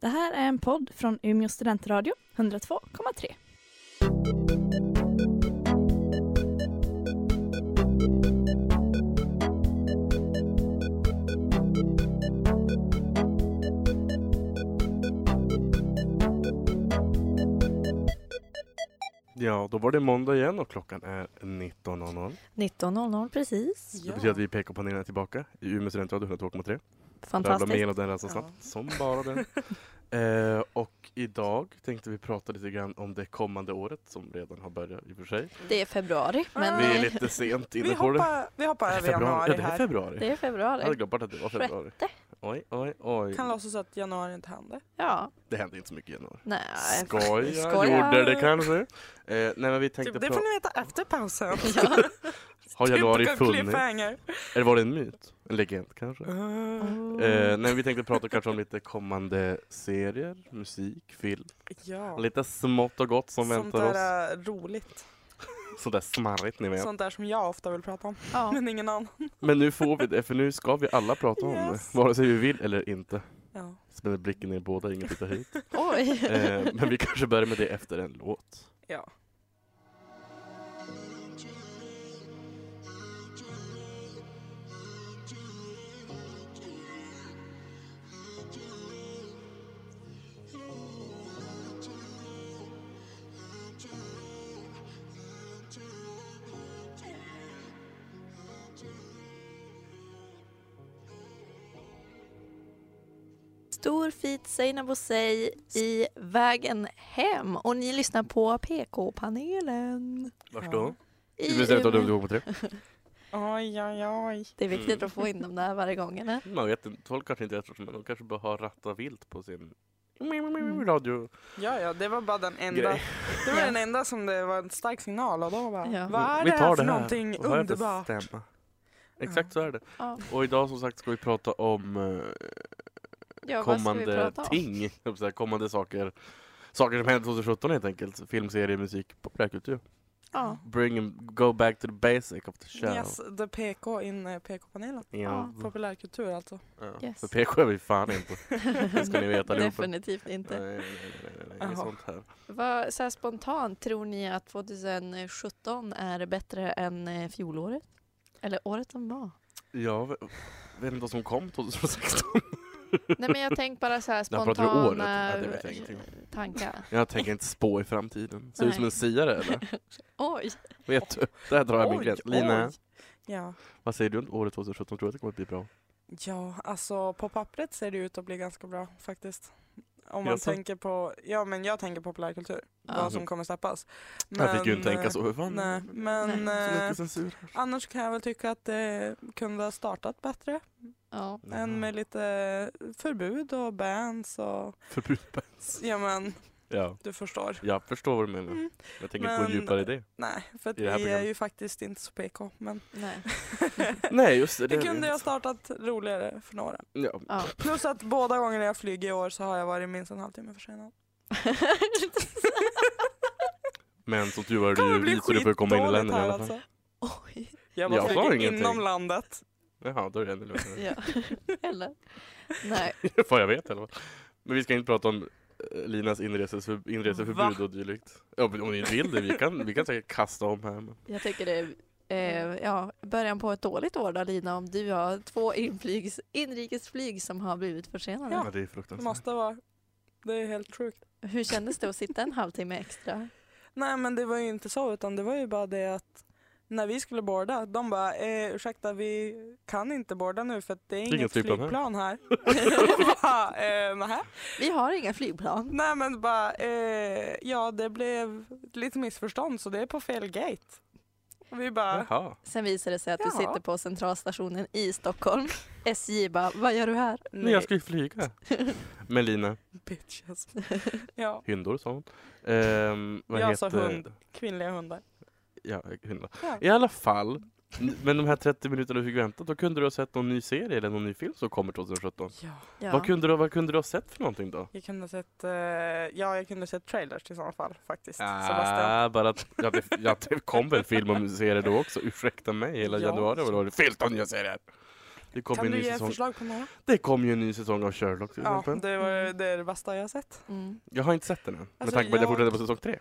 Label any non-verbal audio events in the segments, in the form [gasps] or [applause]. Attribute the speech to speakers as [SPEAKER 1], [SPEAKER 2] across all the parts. [SPEAKER 1] Det här är en podd från Umeå studentradio, 102,3.
[SPEAKER 2] Ja, då var det måndag igen och klockan är 19.00.
[SPEAKER 3] 19.00 precis.
[SPEAKER 2] Det betyder att vi pekar panelen är tillbaka i Umeå studentradio 102,3. Rabbla mig
[SPEAKER 3] Fantastiskt.
[SPEAKER 2] igenom den här så snabbt som bara
[SPEAKER 4] [laughs]
[SPEAKER 2] den. eh, och idag tänkte vi prata lite grann om det kommande året som redan har börjat i och för sig.
[SPEAKER 3] Det är februari, men
[SPEAKER 2] Vi är
[SPEAKER 3] eh,
[SPEAKER 2] lite sent
[SPEAKER 4] Vi
[SPEAKER 2] inne på det.
[SPEAKER 4] hoppar, vi hoppar
[SPEAKER 2] Är det
[SPEAKER 4] över januari
[SPEAKER 2] Ja, det är
[SPEAKER 4] här.
[SPEAKER 2] februari.
[SPEAKER 3] det är
[SPEAKER 2] Jag hade
[SPEAKER 3] februari.
[SPEAKER 2] glömt bort att det var februari.
[SPEAKER 3] Sjätte.
[SPEAKER 2] Oj, oj, oj.
[SPEAKER 4] Kan låtsas att januari inte hände.
[SPEAKER 3] Ja,
[SPEAKER 2] Det händer inte så mycket i januari.
[SPEAKER 3] nej.
[SPEAKER 2] Skoja,
[SPEAKER 3] Skoja.
[SPEAKER 2] gjorde det kanske. Eh, nej men vi tänkte
[SPEAKER 4] Typ, det
[SPEAKER 2] prata,
[SPEAKER 4] får ni veta
[SPEAKER 2] [laughs]
[SPEAKER 4] efter pausen. [laughs]
[SPEAKER 3] Ja.
[SPEAKER 2] har januari
[SPEAKER 4] Typ en
[SPEAKER 2] funnits?
[SPEAKER 4] cliffhanger.
[SPEAKER 2] Eller var det en myt? En legend kanske?
[SPEAKER 4] Uh,
[SPEAKER 2] Eh, nej, vi tänkte prata kanske om lite kommande serier, musik, film.
[SPEAKER 4] ja.
[SPEAKER 2] Lite smått och gott som
[SPEAKER 4] Sånt
[SPEAKER 2] väntar oss.
[SPEAKER 4] där eh, roligt.
[SPEAKER 2] Sånt där smarrigt ni vet.
[SPEAKER 4] Sånt där som jag ofta vill prata om.
[SPEAKER 2] Eh,
[SPEAKER 3] [laughs] Ja.
[SPEAKER 4] Men ingen annan.
[SPEAKER 2] Men nu får vi det, för nu ska vi alla prata om
[SPEAKER 4] Yes.
[SPEAKER 2] det. Vare sig vi vill eller inte.
[SPEAKER 4] Ja.
[SPEAKER 2] Spänner blicken ner båda, ingen tittar hit.
[SPEAKER 3] Oj.
[SPEAKER 2] Eh, men vi kanske börjar med det efter en låt.
[SPEAKER 4] ja.
[SPEAKER 3] Stor feat Seinabo Sey i Vägen hem och ni lyssnar på PK-panelen.
[SPEAKER 2] Vars då?
[SPEAKER 3] I
[SPEAKER 2] Vi bestämmer
[SPEAKER 3] Umeå.
[SPEAKER 2] om du går på tre.
[SPEAKER 4] Oj, oj, oj.
[SPEAKER 3] Det är viktigt att få in dem där varje gång. Eller?
[SPEAKER 2] [laughs] Man vet inte, folk kanske inte vet, men de kanske bara har ratta vilt på sin
[SPEAKER 3] Mm.
[SPEAKER 2] radio.
[SPEAKER 4] Ja, ja, det var bara den enda.
[SPEAKER 2] Grej.
[SPEAKER 4] Det var
[SPEAKER 3] Ja.
[SPEAKER 4] den enda som det var en stark signal och då bara,
[SPEAKER 3] Ja.
[SPEAKER 4] vad är
[SPEAKER 2] Vi
[SPEAKER 4] det
[SPEAKER 2] tar
[SPEAKER 4] här för
[SPEAKER 2] det här
[SPEAKER 4] någonting
[SPEAKER 2] och hör att det
[SPEAKER 4] underbart?
[SPEAKER 2] stämmer. Exakt så är det.
[SPEAKER 3] Ja.
[SPEAKER 2] Och idag som sagt ska vi prata om eh,
[SPEAKER 3] Ja, vad ska vi
[SPEAKER 2] kommande
[SPEAKER 3] prata om?
[SPEAKER 2] ting, höll jag på att säga, kommande saker. Saker som hände 2017 helt enkelt. Film, serie, musik, populärkultur.
[SPEAKER 3] Ja.
[SPEAKER 2] Bring em, go back to the basic of the show.
[SPEAKER 4] Yes, the PK in eh, PK-panelen.
[SPEAKER 2] Ja.
[SPEAKER 4] Populärkultur alltså.
[SPEAKER 2] Ja.
[SPEAKER 3] Yes.
[SPEAKER 2] För PK är vi fan inte. Det ska ni veta allihopa.
[SPEAKER 3] Definitivt inte.
[SPEAKER 2] Nej, nej, nej, nej, nej, inget
[SPEAKER 4] Jaha.
[SPEAKER 2] sånt här.
[SPEAKER 3] Vad, så här spontant, tror ni att 2017 är bättre än eh, fjolåret? Eller året som var?
[SPEAKER 2] Jag vet vet inte vad som kom 2016.
[SPEAKER 3] Nej men jag tänker bara
[SPEAKER 2] [laughs]
[SPEAKER 3] så här
[SPEAKER 2] Det här pratar du om året?
[SPEAKER 3] spontana
[SPEAKER 2] Ja, det vet jag ingenting om.
[SPEAKER 3] tankar.
[SPEAKER 2] Jag tänker inte spå i framtiden. Ser ut som
[SPEAKER 3] Nej.
[SPEAKER 2] en siare eller?
[SPEAKER 3] Oj!
[SPEAKER 2] Vet du? Där drar jag min gräns. Lina,
[SPEAKER 4] Ja.
[SPEAKER 2] vad säger du om året 2017? Tror du att det kommer att bli bra?
[SPEAKER 4] Ja, alltså på pappret ser det ut att bli ganska bra faktiskt. Om man
[SPEAKER 2] Jaså?
[SPEAKER 4] tänker på, ja men jag tänker populärkultur,
[SPEAKER 3] Ja.
[SPEAKER 4] vad som kommer släppas.
[SPEAKER 2] jag fick ju inte
[SPEAKER 4] Men,
[SPEAKER 2] tänka så. Hur fan?
[SPEAKER 4] eh, Nej, men
[SPEAKER 2] Så mycket
[SPEAKER 4] eh,
[SPEAKER 2] censur.
[SPEAKER 4] annars kan jag väl tycka att det kunde ha startat bättre.
[SPEAKER 3] Ja.
[SPEAKER 2] Mhm.
[SPEAKER 4] Än med lite förbud och bans och,
[SPEAKER 2] Förbud.
[SPEAKER 4] ja men
[SPEAKER 2] Ja.
[SPEAKER 4] du förstår.
[SPEAKER 2] Jag förstår vad du menar.
[SPEAKER 4] Mm.
[SPEAKER 2] Jag tänker inte gå
[SPEAKER 4] Men-
[SPEAKER 2] djupare i det.
[SPEAKER 4] Nej, för att
[SPEAKER 2] I det här
[SPEAKER 4] vi är
[SPEAKER 2] programmet.
[SPEAKER 4] ju faktiskt inte så PK, men [laughs]
[SPEAKER 3] Nej.
[SPEAKER 2] [laughs]
[SPEAKER 3] [laughs]
[SPEAKER 2] Nej, just
[SPEAKER 4] det kunde jag startat roligare för några.
[SPEAKER 2] Ja.
[SPEAKER 3] Ja.
[SPEAKER 4] Plus att båda gångerna jag flyger i år så har jag varit minst en halvtimme försenad.
[SPEAKER 2] Men som tur var är
[SPEAKER 4] Det kommer
[SPEAKER 2] du
[SPEAKER 4] bli
[SPEAKER 2] ju vit så du får komma in i
[SPEAKER 4] skitdåligt
[SPEAKER 2] landet i
[SPEAKER 4] här
[SPEAKER 2] alla fall.
[SPEAKER 4] alltså.
[SPEAKER 3] Oj!
[SPEAKER 4] Jag
[SPEAKER 2] Jag
[SPEAKER 4] bara
[SPEAKER 2] sa
[SPEAKER 4] flyger
[SPEAKER 2] ingenting.
[SPEAKER 4] inom landet.
[SPEAKER 2] Jaha, då är det ännu [laughs] lugnare.
[SPEAKER 3] Ja. Eller? Nej.
[SPEAKER 2] Vad jag vet i alla fall. Men vi ska inte prata om eh, Linas inreseför, inreseförbud och dylikt. Ja, men om ni vill det, vi kan, vi kan säkert kasta om här. Men...
[SPEAKER 3] Jag tycker det är
[SPEAKER 2] Mm.
[SPEAKER 3] eh, ja, början på ett dåligt år då Lina om du har två inflygs, inrikesflyg som har blivit försenade.
[SPEAKER 2] Ja, det är
[SPEAKER 4] Det
[SPEAKER 2] fruktansvärt.
[SPEAKER 4] måste vara. Det är helt sjukt.
[SPEAKER 3] Hur kändes det att sitta en halvtimme extra?
[SPEAKER 4] Nej men det var ju inte så utan det var ju bara det att när vi skulle boarda, de bara eh, ursäkta vi kan inte boarda nu för att det är
[SPEAKER 2] Inget
[SPEAKER 4] inget,
[SPEAKER 2] flygplan
[SPEAKER 4] flygplan,
[SPEAKER 2] här." [laughs]
[SPEAKER 4] här. [laughs] Jag bara, eh, nähä?
[SPEAKER 3] Vi har inga flygplan.
[SPEAKER 4] Nej men bara eh, ja det blev lite missförstånd så det är på fel gate. Och vi bara
[SPEAKER 2] Jaha.
[SPEAKER 3] Sen visar det sig att du
[SPEAKER 4] Ja.
[SPEAKER 3] sitter på centralstationen i Stockholm. SJ bara, vad gör du här?
[SPEAKER 2] Men jag ska ju [laughs] flyga. Men Lina,
[SPEAKER 4] bitches. ja,
[SPEAKER 2] hyndor sa hon. Ehm, vad
[SPEAKER 4] Jag
[SPEAKER 2] heter...
[SPEAKER 4] sa hund. kvinnliga hundar.
[SPEAKER 2] Ja, hundar.
[SPEAKER 4] Ja.
[SPEAKER 2] I alla fall, n- men de här 30 minuterna du fick vänta, då kunde du ha sett någon ny serie eller någon ny film som kommer 2017.
[SPEAKER 4] Ja.
[SPEAKER 3] [laughs] Ja.
[SPEAKER 2] Vad, kunde du, vad kunde du ha sett för någonting då?
[SPEAKER 4] Jag kunde ha sett, eh, ja jag kunde ha sett trailers i sådana fall faktiskt. Sebastian.
[SPEAKER 2] Ah, bara att, ja, det, ja, det kom väl film och serier då också, ursäkta mig, hela
[SPEAKER 4] Ja.
[SPEAKER 2] januari var det 14 nya serier! Det kom,
[SPEAKER 4] kan
[SPEAKER 2] en
[SPEAKER 4] du
[SPEAKER 2] ny
[SPEAKER 4] ge
[SPEAKER 2] säsong.
[SPEAKER 4] förslag på några? Mm.
[SPEAKER 2] det kom ju en ny säsong av Sherlock till
[SPEAKER 4] Ja,
[SPEAKER 2] exempel.
[SPEAKER 4] det, var, det är det bästa jag har sett.
[SPEAKER 3] Mm.
[SPEAKER 2] Jag har inte sett den än, med
[SPEAKER 4] Alltså,
[SPEAKER 2] tanke på att jag
[SPEAKER 4] jag-
[SPEAKER 2] fortsätter på säsong tre.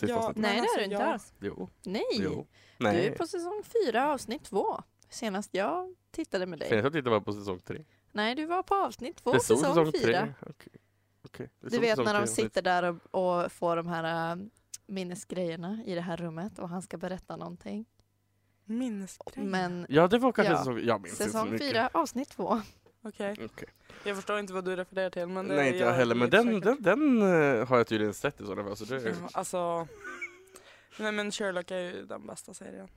[SPEAKER 2] Sista
[SPEAKER 4] Ja.
[SPEAKER 2] avsnittet.
[SPEAKER 4] Men
[SPEAKER 3] Nej det är
[SPEAKER 4] alltså,
[SPEAKER 3] du inte
[SPEAKER 4] jag-
[SPEAKER 3] alls.
[SPEAKER 2] Jo.
[SPEAKER 3] Nej.
[SPEAKER 2] jo.
[SPEAKER 3] Du
[SPEAKER 2] Nej.
[SPEAKER 3] är på säsong fyra avsnitt två. Senast jag tittade med dig.
[SPEAKER 2] Senast jag tittade var på säsong tre.
[SPEAKER 3] Nej du var på avsnitt två,
[SPEAKER 2] det stod
[SPEAKER 3] säsong,
[SPEAKER 2] säsong
[SPEAKER 3] fyra.
[SPEAKER 2] tre. Okej. Okej. Det
[SPEAKER 3] Du
[SPEAKER 2] stod
[SPEAKER 3] vet
[SPEAKER 2] säsong
[SPEAKER 3] när
[SPEAKER 2] tre
[SPEAKER 3] de
[SPEAKER 2] avsnitt.
[SPEAKER 3] sitter där och, och får de här äh, minnesgrejerna i det här rummet och han ska berätta någonting.
[SPEAKER 4] Minnesgrej.
[SPEAKER 3] Men
[SPEAKER 2] Ja, det var kanske
[SPEAKER 3] Ja.
[SPEAKER 2] säsong... Jag minns inte så
[SPEAKER 3] säsong
[SPEAKER 2] mycket.
[SPEAKER 3] fyra avsnitt två.
[SPEAKER 4] Okej.
[SPEAKER 2] Okej.
[SPEAKER 4] Jag förstår inte vad du refererar till. Men eh, det,
[SPEAKER 2] Nej, inte jag heller. Men den, den, den eh, har jag tydligen sett i sådana fall. Så det är...
[SPEAKER 3] Mm.
[SPEAKER 4] Ja, Alltså... Nej men Sherlock är ju den bästa serien.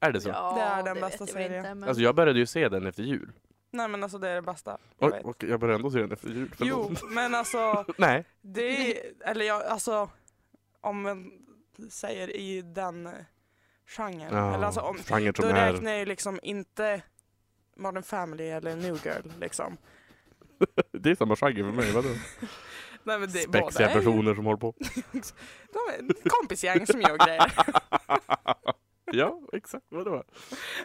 [SPEAKER 2] är det så?
[SPEAKER 3] Ja,
[SPEAKER 4] Det är den
[SPEAKER 3] vet
[SPEAKER 4] bästa
[SPEAKER 3] jag väl
[SPEAKER 4] serien.
[SPEAKER 3] men-
[SPEAKER 2] Alltså jag började ju se den efter jul.
[SPEAKER 4] Nej men alltså det är det bästa. Jag
[SPEAKER 2] Oj,
[SPEAKER 4] vet.
[SPEAKER 2] och jag började ändå se den efter jul. förlåt.
[SPEAKER 4] Jo, men alltså
[SPEAKER 2] [laughs] Nej.
[SPEAKER 4] det är, eller jag, alltså om man säger i den eh, genren. Eller alltså om,
[SPEAKER 2] genren
[SPEAKER 4] då
[SPEAKER 2] som är...
[SPEAKER 4] räknar jag ju liksom inte Modern Family eller New Girl liksom.
[SPEAKER 2] Det är [laughs] samma genre för
[SPEAKER 3] [laughs]
[SPEAKER 2] mig. Vadå?
[SPEAKER 4] Nej men det båda
[SPEAKER 2] Spexiga
[SPEAKER 4] är ju
[SPEAKER 2] personer som håller på.
[SPEAKER 4] [laughs]
[SPEAKER 2] [laughs]
[SPEAKER 4] de är kompisgäng som gör grejer.
[SPEAKER 2] ja, exakt vad det
[SPEAKER 3] [laughs]
[SPEAKER 2] var.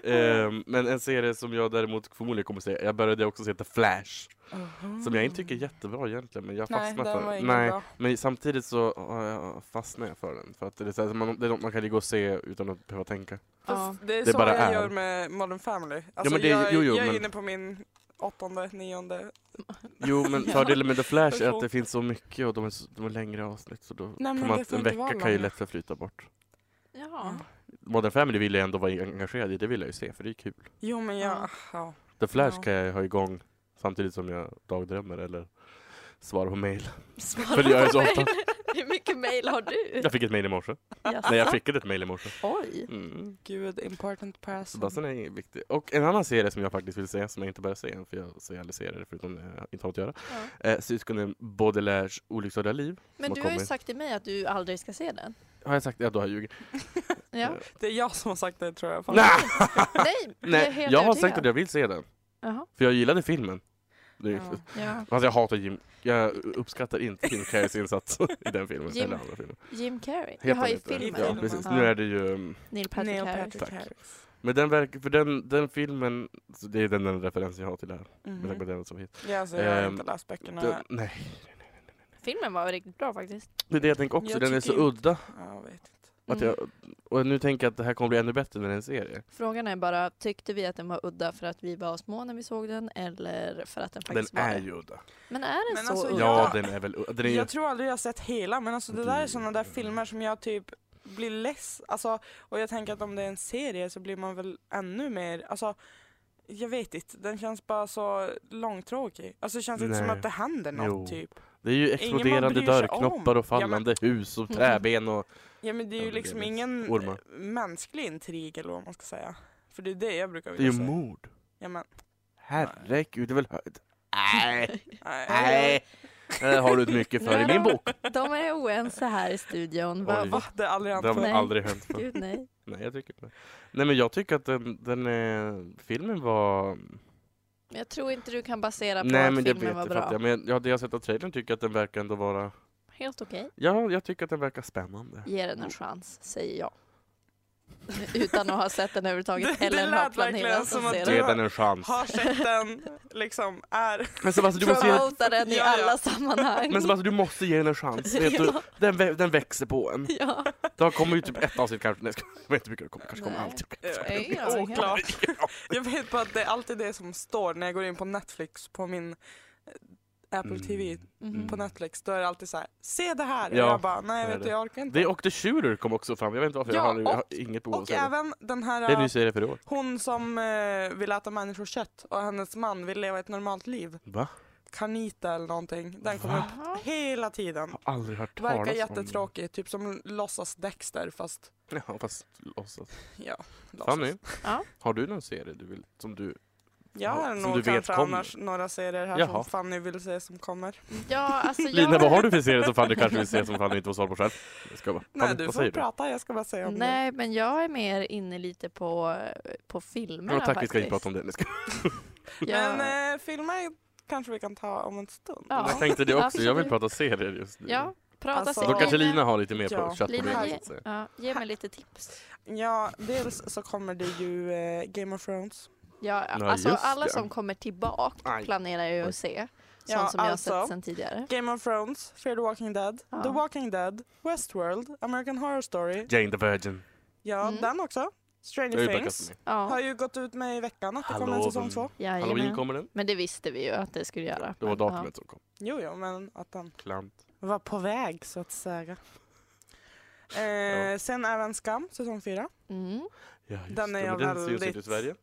[SPEAKER 2] Ehm, men en serie som jag däremot förmodligen kommer se, jag började också se The Flash, [laughs] som jag inte tycker är jättebra egentligen, men jag
[SPEAKER 4] Nej,
[SPEAKER 2] fastnar
[SPEAKER 4] den
[SPEAKER 2] för
[SPEAKER 4] var
[SPEAKER 2] den.
[SPEAKER 4] ingen
[SPEAKER 2] Nej,
[SPEAKER 4] bra.
[SPEAKER 2] men samtidigt så har jag- fastnar jag för den. För att det är, så här, man, det är något man kan ligga och se utan att behöva tänka.
[SPEAKER 3] Ja.
[SPEAKER 4] Fast Det är
[SPEAKER 2] Det
[SPEAKER 4] så
[SPEAKER 2] bara
[SPEAKER 4] jag
[SPEAKER 2] är.
[SPEAKER 4] gör med Modern Family. Alltså,
[SPEAKER 2] men det-
[SPEAKER 4] jag,
[SPEAKER 2] jo, jo,
[SPEAKER 4] jag är
[SPEAKER 2] men-
[SPEAKER 4] inne på min åttonde, nionde.
[SPEAKER 2] Jo, men
[SPEAKER 4] [laughs] Ja.
[SPEAKER 2] fördelen med The Flash är att
[SPEAKER 4] Version.
[SPEAKER 2] det finns så mycket och de är, så, de är längre avsnitt, så då
[SPEAKER 4] men
[SPEAKER 2] kan
[SPEAKER 4] det
[SPEAKER 2] man,
[SPEAKER 4] får
[SPEAKER 2] en
[SPEAKER 4] inte vara
[SPEAKER 2] vecka kan ju
[SPEAKER 4] längre.
[SPEAKER 2] lätt förflyta bort.
[SPEAKER 4] Mm.
[SPEAKER 3] Jaha.
[SPEAKER 2] Modern Family vill jag ändå vara engagerad i, det vill jag ju se, för det är kul.
[SPEAKER 4] Jo men jag...
[SPEAKER 3] Ja.
[SPEAKER 4] Ja.
[SPEAKER 2] The Flash
[SPEAKER 4] Ja.
[SPEAKER 2] kan jag ha igång samtidigt som jag dagdrömmer eller svarar på
[SPEAKER 4] [laughs]
[SPEAKER 2] mejl.
[SPEAKER 3] Svara
[SPEAKER 2] För det gör jag
[SPEAKER 3] på
[SPEAKER 2] så ofta.
[SPEAKER 3] mejl. Hur mycket mejl har du?
[SPEAKER 2] Jag fick ett mejl i morse.
[SPEAKER 3] Jaså?
[SPEAKER 2] Nej, jag fick ett mejl i morse.
[SPEAKER 3] Oj.
[SPEAKER 2] Mm.
[SPEAKER 4] Gud, important
[SPEAKER 2] Så
[SPEAKER 4] person.
[SPEAKER 2] Bassen är viktig. Och en annan serie som jag faktiskt vill se, som jag inte börjar se än för jag ser aldrig serier förutom när jag inte har något att göra. Eh, Syskonen Baudelaires olycksaliga liv.
[SPEAKER 3] Men
[SPEAKER 2] Vad
[SPEAKER 3] du har ju
[SPEAKER 2] kommer?
[SPEAKER 3] sagt till mig att du aldrig ska se den.
[SPEAKER 2] Har jag sagt det? Ja, då har jag ljugit. Eh.
[SPEAKER 3] Ja.
[SPEAKER 4] Det är jag som har sagt det tror jag. fan.
[SPEAKER 2] Nej!
[SPEAKER 3] Nej,
[SPEAKER 2] [laughs]
[SPEAKER 3] jag är
[SPEAKER 2] Nej,
[SPEAKER 3] helt
[SPEAKER 2] jag har
[SPEAKER 3] övertygad.
[SPEAKER 2] sagt att jag vill se den.
[SPEAKER 3] Jaha.
[SPEAKER 2] För jag gillade filmen. Det är
[SPEAKER 4] Ja.
[SPEAKER 2] ju-
[SPEAKER 3] Ja.
[SPEAKER 2] Fast jag hatar Jim. Jag uppskattar inte Jim Carreys insats [laughs] i den filmen.
[SPEAKER 3] Jim-
[SPEAKER 2] eller andra filmen.
[SPEAKER 3] Jim Carrey.
[SPEAKER 2] Heter
[SPEAKER 3] Jaha,
[SPEAKER 2] han
[SPEAKER 3] i
[SPEAKER 2] inte det?
[SPEAKER 3] filmen.
[SPEAKER 2] Ja,
[SPEAKER 4] Filmen.
[SPEAKER 2] precis.
[SPEAKER 3] Ja.
[SPEAKER 2] Nu är det ju... um,
[SPEAKER 3] Neil Patrick
[SPEAKER 4] Neil
[SPEAKER 3] Harris.
[SPEAKER 4] Patrick
[SPEAKER 2] Tack.
[SPEAKER 4] Harris.
[SPEAKER 2] Men den, verk, för den, den filmen, så det är den, den referensen jag har till det här.
[SPEAKER 3] Mm.
[SPEAKER 2] Med tanke på
[SPEAKER 4] Mhm.
[SPEAKER 2] den som hit.
[SPEAKER 4] Ja, alltså, jag har
[SPEAKER 2] Ehm,
[SPEAKER 4] inte läst böckerna.
[SPEAKER 2] Den, nej,
[SPEAKER 3] Filmen var riktigt bra faktiskt.
[SPEAKER 2] det är det jag tänker också.
[SPEAKER 4] Jag
[SPEAKER 2] den är så
[SPEAKER 4] tycker inte-
[SPEAKER 2] udda.
[SPEAKER 4] Ja, jag vet.
[SPEAKER 2] Att
[SPEAKER 3] Mm.
[SPEAKER 2] jag, och nu tänker jag att det här kommer bli ännu bättre när det är en serie.
[SPEAKER 3] Frågan är bara, tyckte vi att den var udda för att vi var små när vi såg den eller för att den faktiskt
[SPEAKER 2] den
[SPEAKER 3] var
[SPEAKER 2] är
[SPEAKER 3] det?
[SPEAKER 2] ju udda.
[SPEAKER 3] Men är den
[SPEAKER 4] Men
[SPEAKER 3] så
[SPEAKER 4] alltså,
[SPEAKER 3] udda?
[SPEAKER 2] Ja, den är väl udda. Den är ju,
[SPEAKER 4] Jag tror aldrig jag har sett hela, men alltså det där är
[SPEAKER 2] Det-
[SPEAKER 4] sådana där filmer som jag typ blir less. Alltså, och jag tänker att om det är en serie så blir man väl ännu mer, alltså jag vet inte, den känns bara så långtråkig. Alltså det känns inte som
[SPEAKER 2] Nej.
[SPEAKER 4] att det händer något
[SPEAKER 2] Jo.
[SPEAKER 4] typ.
[SPEAKER 2] det är ju
[SPEAKER 4] man
[SPEAKER 2] exploderande
[SPEAKER 4] bryr sig
[SPEAKER 2] dörrknoppar
[SPEAKER 4] om.
[SPEAKER 2] och fallande hus
[SPEAKER 3] Mm.
[SPEAKER 2] och träben och...
[SPEAKER 4] Ja men det är
[SPEAKER 2] Ja, men
[SPEAKER 4] ju
[SPEAKER 2] det är
[SPEAKER 4] liksom
[SPEAKER 2] väl
[SPEAKER 4] ingen
[SPEAKER 2] ormar.
[SPEAKER 4] mänsklig intrig eller vad man ska säga. För det är det jag brukar
[SPEAKER 2] Det är
[SPEAKER 4] vilja
[SPEAKER 2] ju
[SPEAKER 4] säga.
[SPEAKER 2] mord.
[SPEAKER 4] Ja, men,
[SPEAKER 2] Herregud, det är väl höjd.
[SPEAKER 3] [laughs]
[SPEAKER 2] Nej,
[SPEAKER 4] nej,
[SPEAKER 2] nej. Det har du inte mycket för i min bok.
[SPEAKER 3] De är oense här i studion. Va,
[SPEAKER 2] Oj.
[SPEAKER 3] va?
[SPEAKER 4] Det har aldrig hänt
[SPEAKER 2] Det har
[SPEAKER 4] förut.
[SPEAKER 3] Nej.
[SPEAKER 2] aldrig hänt förr.
[SPEAKER 3] Gud nej.
[SPEAKER 2] Nej, jag tycker inte Nej, men jag tycker att den, den eh, filmen var...
[SPEAKER 3] Men Jag tror inte du kan basera på
[SPEAKER 2] Nej,
[SPEAKER 3] att
[SPEAKER 2] men det
[SPEAKER 3] filmen
[SPEAKER 2] vet
[SPEAKER 3] var
[SPEAKER 2] jag.
[SPEAKER 3] bra.
[SPEAKER 2] fattar jag. Men jag, det jag har sett av trailern tycker jag att den verkar ändå vara...
[SPEAKER 3] Helt okej.
[SPEAKER 2] Ja, jag tycker att den verkar spännande.
[SPEAKER 3] Ge den en chans, säger jag. [laughs] Utan att ha sett den överhuvudtaget [laughs]
[SPEAKER 4] Det-
[SPEAKER 3] eller
[SPEAKER 4] det
[SPEAKER 3] ha
[SPEAKER 4] lät verkligen
[SPEAKER 3] planerat
[SPEAKER 4] som
[SPEAKER 3] att
[SPEAKER 4] att
[SPEAKER 3] se
[SPEAKER 4] du-
[SPEAKER 2] Ge
[SPEAKER 3] den.
[SPEAKER 2] den en chans.
[SPEAKER 4] Har sett den, liksom
[SPEAKER 2] [laughs]
[SPEAKER 4] är...
[SPEAKER 2] Men Sebastian, du måste, ge,
[SPEAKER 3] Promota den i
[SPEAKER 4] Ja, ja.
[SPEAKER 3] alla sammanhang.
[SPEAKER 2] men Sebastian, du måste ge den en chans. Vet du,
[SPEAKER 3] [laughs] Ja.
[SPEAKER 2] den, vä- den växer på en.
[SPEAKER 3] Ja.
[SPEAKER 2] Det har kommit ut typ ett avsnitt kanske. Nej, jag skojar. jag vet inte hur mycket det kommer. Kanske kommer
[SPEAKER 3] Nej.
[SPEAKER 2] allt.
[SPEAKER 3] är ingen aning heller.
[SPEAKER 4] Oklart. Jag vet bara att det är alltid det som står när jag går in på Netflix på min eh, Apple TV
[SPEAKER 2] Mm.
[SPEAKER 3] Mhm.
[SPEAKER 4] på Netflix. Då är det alltid så här, se det här!
[SPEAKER 2] Ja,
[SPEAKER 4] och jag bara, nej
[SPEAKER 2] det är
[SPEAKER 4] vet du,
[SPEAKER 2] det.
[SPEAKER 4] jag orkar inte.
[SPEAKER 2] Det och The Shooter kom också fram. Jag vet inte varför. jag,
[SPEAKER 4] Ja,
[SPEAKER 2] har, jag har
[SPEAKER 4] och-
[SPEAKER 2] inget behov av att
[SPEAKER 4] och
[SPEAKER 2] se den.
[SPEAKER 4] även den
[SPEAKER 2] Det är en ny
[SPEAKER 4] här,
[SPEAKER 2] serie för i år.
[SPEAKER 4] hon som eh, vill äta människokött och hennes man vill leva ett normalt liv.
[SPEAKER 2] Va?
[SPEAKER 4] Kanita eller någonting. Den kommer upp
[SPEAKER 3] Jaha.
[SPEAKER 4] hela tiden.
[SPEAKER 2] Jag har aldrig hört talas om
[SPEAKER 4] Verkar
[SPEAKER 2] den.
[SPEAKER 4] jättetråkig, typ som låtsas Dexter fast
[SPEAKER 2] Ja, fast låtsas.
[SPEAKER 4] ja, låtsas.
[SPEAKER 2] Fanny,
[SPEAKER 3] Ja.
[SPEAKER 2] har du någon serie du vill, som du...
[SPEAKER 4] Jag har
[SPEAKER 2] Som du
[SPEAKER 4] nog
[SPEAKER 2] vet
[SPEAKER 4] kanske
[SPEAKER 2] kommer.
[SPEAKER 4] annars några serier här
[SPEAKER 2] Jaha.
[SPEAKER 4] som Fanny vill se som kommer.
[SPEAKER 3] Ja, alltså
[SPEAKER 2] Lina,
[SPEAKER 3] jag...
[SPEAKER 2] vad har du för serie som Fanny kanske vill se som Fanny inte får svar på själv? Jag ska bara.
[SPEAKER 4] Nej
[SPEAKER 2] Fanny,
[SPEAKER 4] du
[SPEAKER 2] vad
[SPEAKER 4] får
[SPEAKER 2] säger du?
[SPEAKER 4] prata, jag ska bara säga om det.
[SPEAKER 3] Nej, men jag är mer inne lite på, på filmerna
[SPEAKER 2] Ja, tack, vi
[SPEAKER 3] faktiskt.
[SPEAKER 2] ska inte prata om det. Jag ska-
[SPEAKER 3] Jag,
[SPEAKER 4] Men eh, filmer kanske vi kan ta om en stund.
[SPEAKER 3] Ja.
[SPEAKER 2] Jag tänkte det också, jag vill
[SPEAKER 3] Absolut.
[SPEAKER 2] prata serier just nu.
[SPEAKER 3] ja, prata
[SPEAKER 4] Alltså-
[SPEAKER 2] Då
[SPEAKER 3] serier.
[SPEAKER 2] kanske Lina har lite mer
[SPEAKER 4] Ja.
[SPEAKER 2] på köttproblem.
[SPEAKER 3] Lina,
[SPEAKER 2] så
[SPEAKER 3] ge-
[SPEAKER 2] att säga.
[SPEAKER 3] Ja, ge mig lite tips.
[SPEAKER 4] Ja, dels så kommer det ju eh, Game of Thrones
[SPEAKER 3] Ja,
[SPEAKER 2] Ja,
[SPEAKER 3] alltså
[SPEAKER 2] just
[SPEAKER 3] alla
[SPEAKER 2] det.
[SPEAKER 3] som kommer tillbaka
[SPEAKER 2] Aj.
[SPEAKER 3] planerar ju
[SPEAKER 2] Oj.
[SPEAKER 3] att se. Sånt
[SPEAKER 4] Ja,
[SPEAKER 3] som jag har
[SPEAKER 4] alltså.
[SPEAKER 3] sett sedan tidigare.
[SPEAKER 4] Game of Thrones, Fear the Walking Dead,
[SPEAKER 3] Ja.
[SPEAKER 4] The Walking Dead, Westworld, American Horror Story.
[SPEAKER 2] Jane the Virgin.
[SPEAKER 4] Ja,
[SPEAKER 3] Mm.
[SPEAKER 4] den också.
[SPEAKER 2] Det har
[SPEAKER 4] Stranger
[SPEAKER 2] ju packat
[SPEAKER 4] Things.
[SPEAKER 2] mig.
[SPEAKER 4] Har
[SPEAKER 3] Ja,
[SPEAKER 4] ju gått ut med i veckan att det kommer en
[SPEAKER 2] Hallå,
[SPEAKER 4] säsong
[SPEAKER 2] mm.
[SPEAKER 4] två.
[SPEAKER 2] Halloween
[SPEAKER 3] jajamän.
[SPEAKER 2] kommer den.
[SPEAKER 3] Men det visste vi ju att det skulle göra.
[SPEAKER 2] Det var
[SPEAKER 3] Men, ja.
[SPEAKER 2] datumet som kom.
[SPEAKER 4] Jo, jo, men att den
[SPEAKER 2] Klant.
[SPEAKER 4] var på väg så att säga. Eh,
[SPEAKER 2] Ja.
[SPEAKER 4] Sen även Skam, säsong fyra.
[SPEAKER 3] Mm.
[SPEAKER 2] Ja, just
[SPEAKER 4] Den är
[SPEAKER 2] det, men den
[SPEAKER 4] jag
[SPEAKER 2] syns inte i
[SPEAKER 4] väldigt-
[SPEAKER 2] Sverige.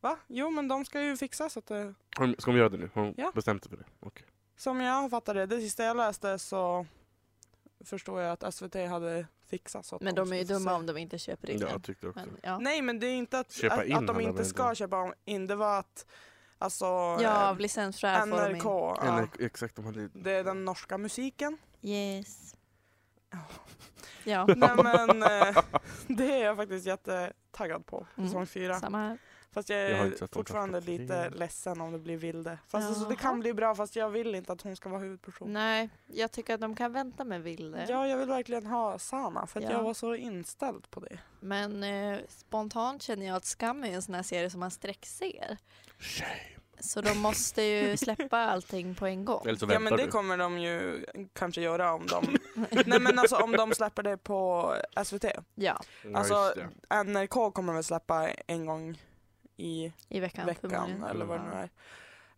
[SPEAKER 4] Va? Jo, men de ska ju fixa så att det...
[SPEAKER 2] Har de- Ska de göra det nu? Har de
[SPEAKER 4] Ja.
[SPEAKER 2] bestämt sig för det? Okej.
[SPEAKER 4] Som jag fattade det, sista jag läste så förstår jag att SVT hade fixat så att
[SPEAKER 3] Men de är ju
[SPEAKER 4] skulle få
[SPEAKER 3] dumma
[SPEAKER 4] se.
[SPEAKER 3] om de inte köper in
[SPEAKER 2] Ja,
[SPEAKER 3] den.
[SPEAKER 2] jag tyckte också.
[SPEAKER 3] Men, ja.
[SPEAKER 4] Nej, men det är inte att,
[SPEAKER 2] Köpa
[SPEAKER 4] att,
[SPEAKER 2] in
[SPEAKER 4] att de
[SPEAKER 2] handlar
[SPEAKER 4] inte
[SPEAKER 2] väl
[SPEAKER 4] ska
[SPEAKER 2] inte.
[SPEAKER 4] köpa in. Det var att alltså,
[SPEAKER 3] ja,
[SPEAKER 4] eh,
[SPEAKER 3] av licensskäl får de
[SPEAKER 4] NRK.
[SPEAKER 3] in.
[SPEAKER 4] Ja.
[SPEAKER 2] Eller, exakt, de hade...
[SPEAKER 4] Det är den norska musiken.
[SPEAKER 3] Yes.
[SPEAKER 4] Ja.
[SPEAKER 3] [laughs] Ja,
[SPEAKER 4] Nej, men eh, [laughs] det är jag faktiskt jättetaggad på,
[SPEAKER 3] Mm.
[SPEAKER 4] säsong fyra.
[SPEAKER 3] samma här.
[SPEAKER 4] Fast jag
[SPEAKER 2] Jag har
[SPEAKER 4] är
[SPEAKER 2] inte sett de
[SPEAKER 4] fortfarande
[SPEAKER 2] första tre.
[SPEAKER 4] lite ledsen om det blir Vilde. Fast alltså, det
[SPEAKER 3] Jaha.
[SPEAKER 4] kan bli bra, fast jag vill inte att hon ska vara huvudperson.
[SPEAKER 3] Nej, jag tycker att de kan vänta med eh. Vilde.
[SPEAKER 4] Ja, jag vill verkligen ha Sana, för att
[SPEAKER 3] Ja.
[SPEAKER 4] jag var så inställd på det.
[SPEAKER 3] Men eh, spontant känner jag att Skam är en sån här serie som man sträckser.
[SPEAKER 2] Shame.
[SPEAKER 3] Så de måste
[SPEAKER 2] [laughs]
[SPEAKER 3] ju släppa allting på en gång.
[SPEAKER 2] Eller så
[SPEAKER 4] Ja
[SPEAKER 2] väntar
[SPEAKER 4] men det
[SPEAKER 2] du.
[SPEAKER 4] kommer de ju kanske göra om de... [laughs] Nej men alltså om de släpper det på SVT.
[SPEAKER 3] Ja,
[SPEAKER 2] Ja,
[SPEAKER 4] alltså,
[SPEAKER 2] just det.
[SPEAKER 4] NRK kommer väl släppa en gång i
[SPEAKER 3] i veckan,
[SPEAKER 4] veckan
[SPEAKER 3] förmodligen.
[SPEAKER 4] eller vad det nu
[SPEAKER 3] Ja.
[SPEAKER 4] är.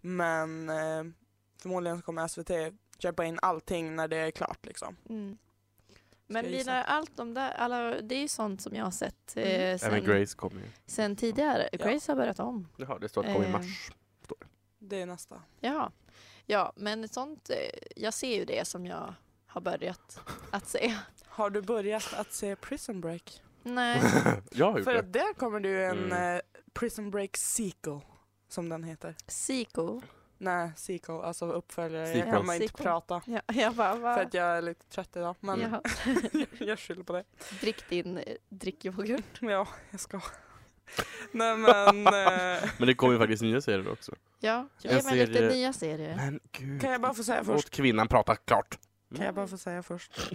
[SPEAKER 4] Men eh, förmodligen så kommer SVT köpa in allting när det är klart liksom.
[SPEAKER 3] Mm. Men
[SPEAKER 4] jag gissa?
[SPEAKER 3] Lina, allt de där, alla, det är ju sånt som jag har sett eh,
[SPEAKER 4] Mm.
[SPEAKER 2] Även
[SPEAKER 3] sen,
[SPEAKER 2] Grace kommer ju.
[SPEAKER 3] sen tidigare.
[SPEAKER 4] Ja.
[SPEAKER 3] Grace har börjat om.
[SPEAKER 2] Jaha, det står att det kommer i
[SPEAKER 3] Eh.
[SPEAKER 2] mars.
[SPEAKER 4] Det är nästa.
[SPEAKER 3] Ja. ja, men sånt, eh, jag ser ju det som jag har börjat att [laughs] se.
[SPEAKER 4] Har du börjat att se Prison Break?
[SPEAKER 3] Nej,
[SPEAKER 2] [laughs] Jag har gjort
[SPEAKER 4] För
[SPEAKER 2] det.
[SPEAKER 4] att där kommer det ju en
[SPEAKER 2] Mm.
[SPEAKER 4] eh, Prison Break sequel som den heter.
[SPEAKER 3] Psycho.
[SPEAKER 4] Nej, sequel, alltså uppföljare.
[SPEAKER 2] Sequel.
[SPEAKER 4] Jag kan bara inte
[SPEAKER 3] Sequel.
[SPEAKER 4] prata
[SPEAKER 3] Ja, jag bara,
[SPEAKER 4] för
[SPEAKER 3] va?
[SPEAKER 4] att jag är lite trött idag. Men
[SPEAKER 3] Jaha.
[SPEAKER 4] [laughs] jag skyller på det.
[SPEAKER 3] Drick din eh, drickyoghurt.
[SPEAKER 4] Ja, jag ska. Nej men, eh,
[SPEAKER 2] Men det kommer ju faktiskt nya serier också.
[SPEAKER 3] Ja, ge
[SPEAKER 2] En
[SPEAKER 3] mig lite
[SPEAKER 2] serie-
[SPEAKER 3] nya serier.
[SPEAKER 2] Men gud.
[SPEAKER 4] kan jag bara få säga först?
[SPEAKER 2] Låt kvinnan prata klart. Mm.
[SPEAKER 4] Kan jag bara få säga först?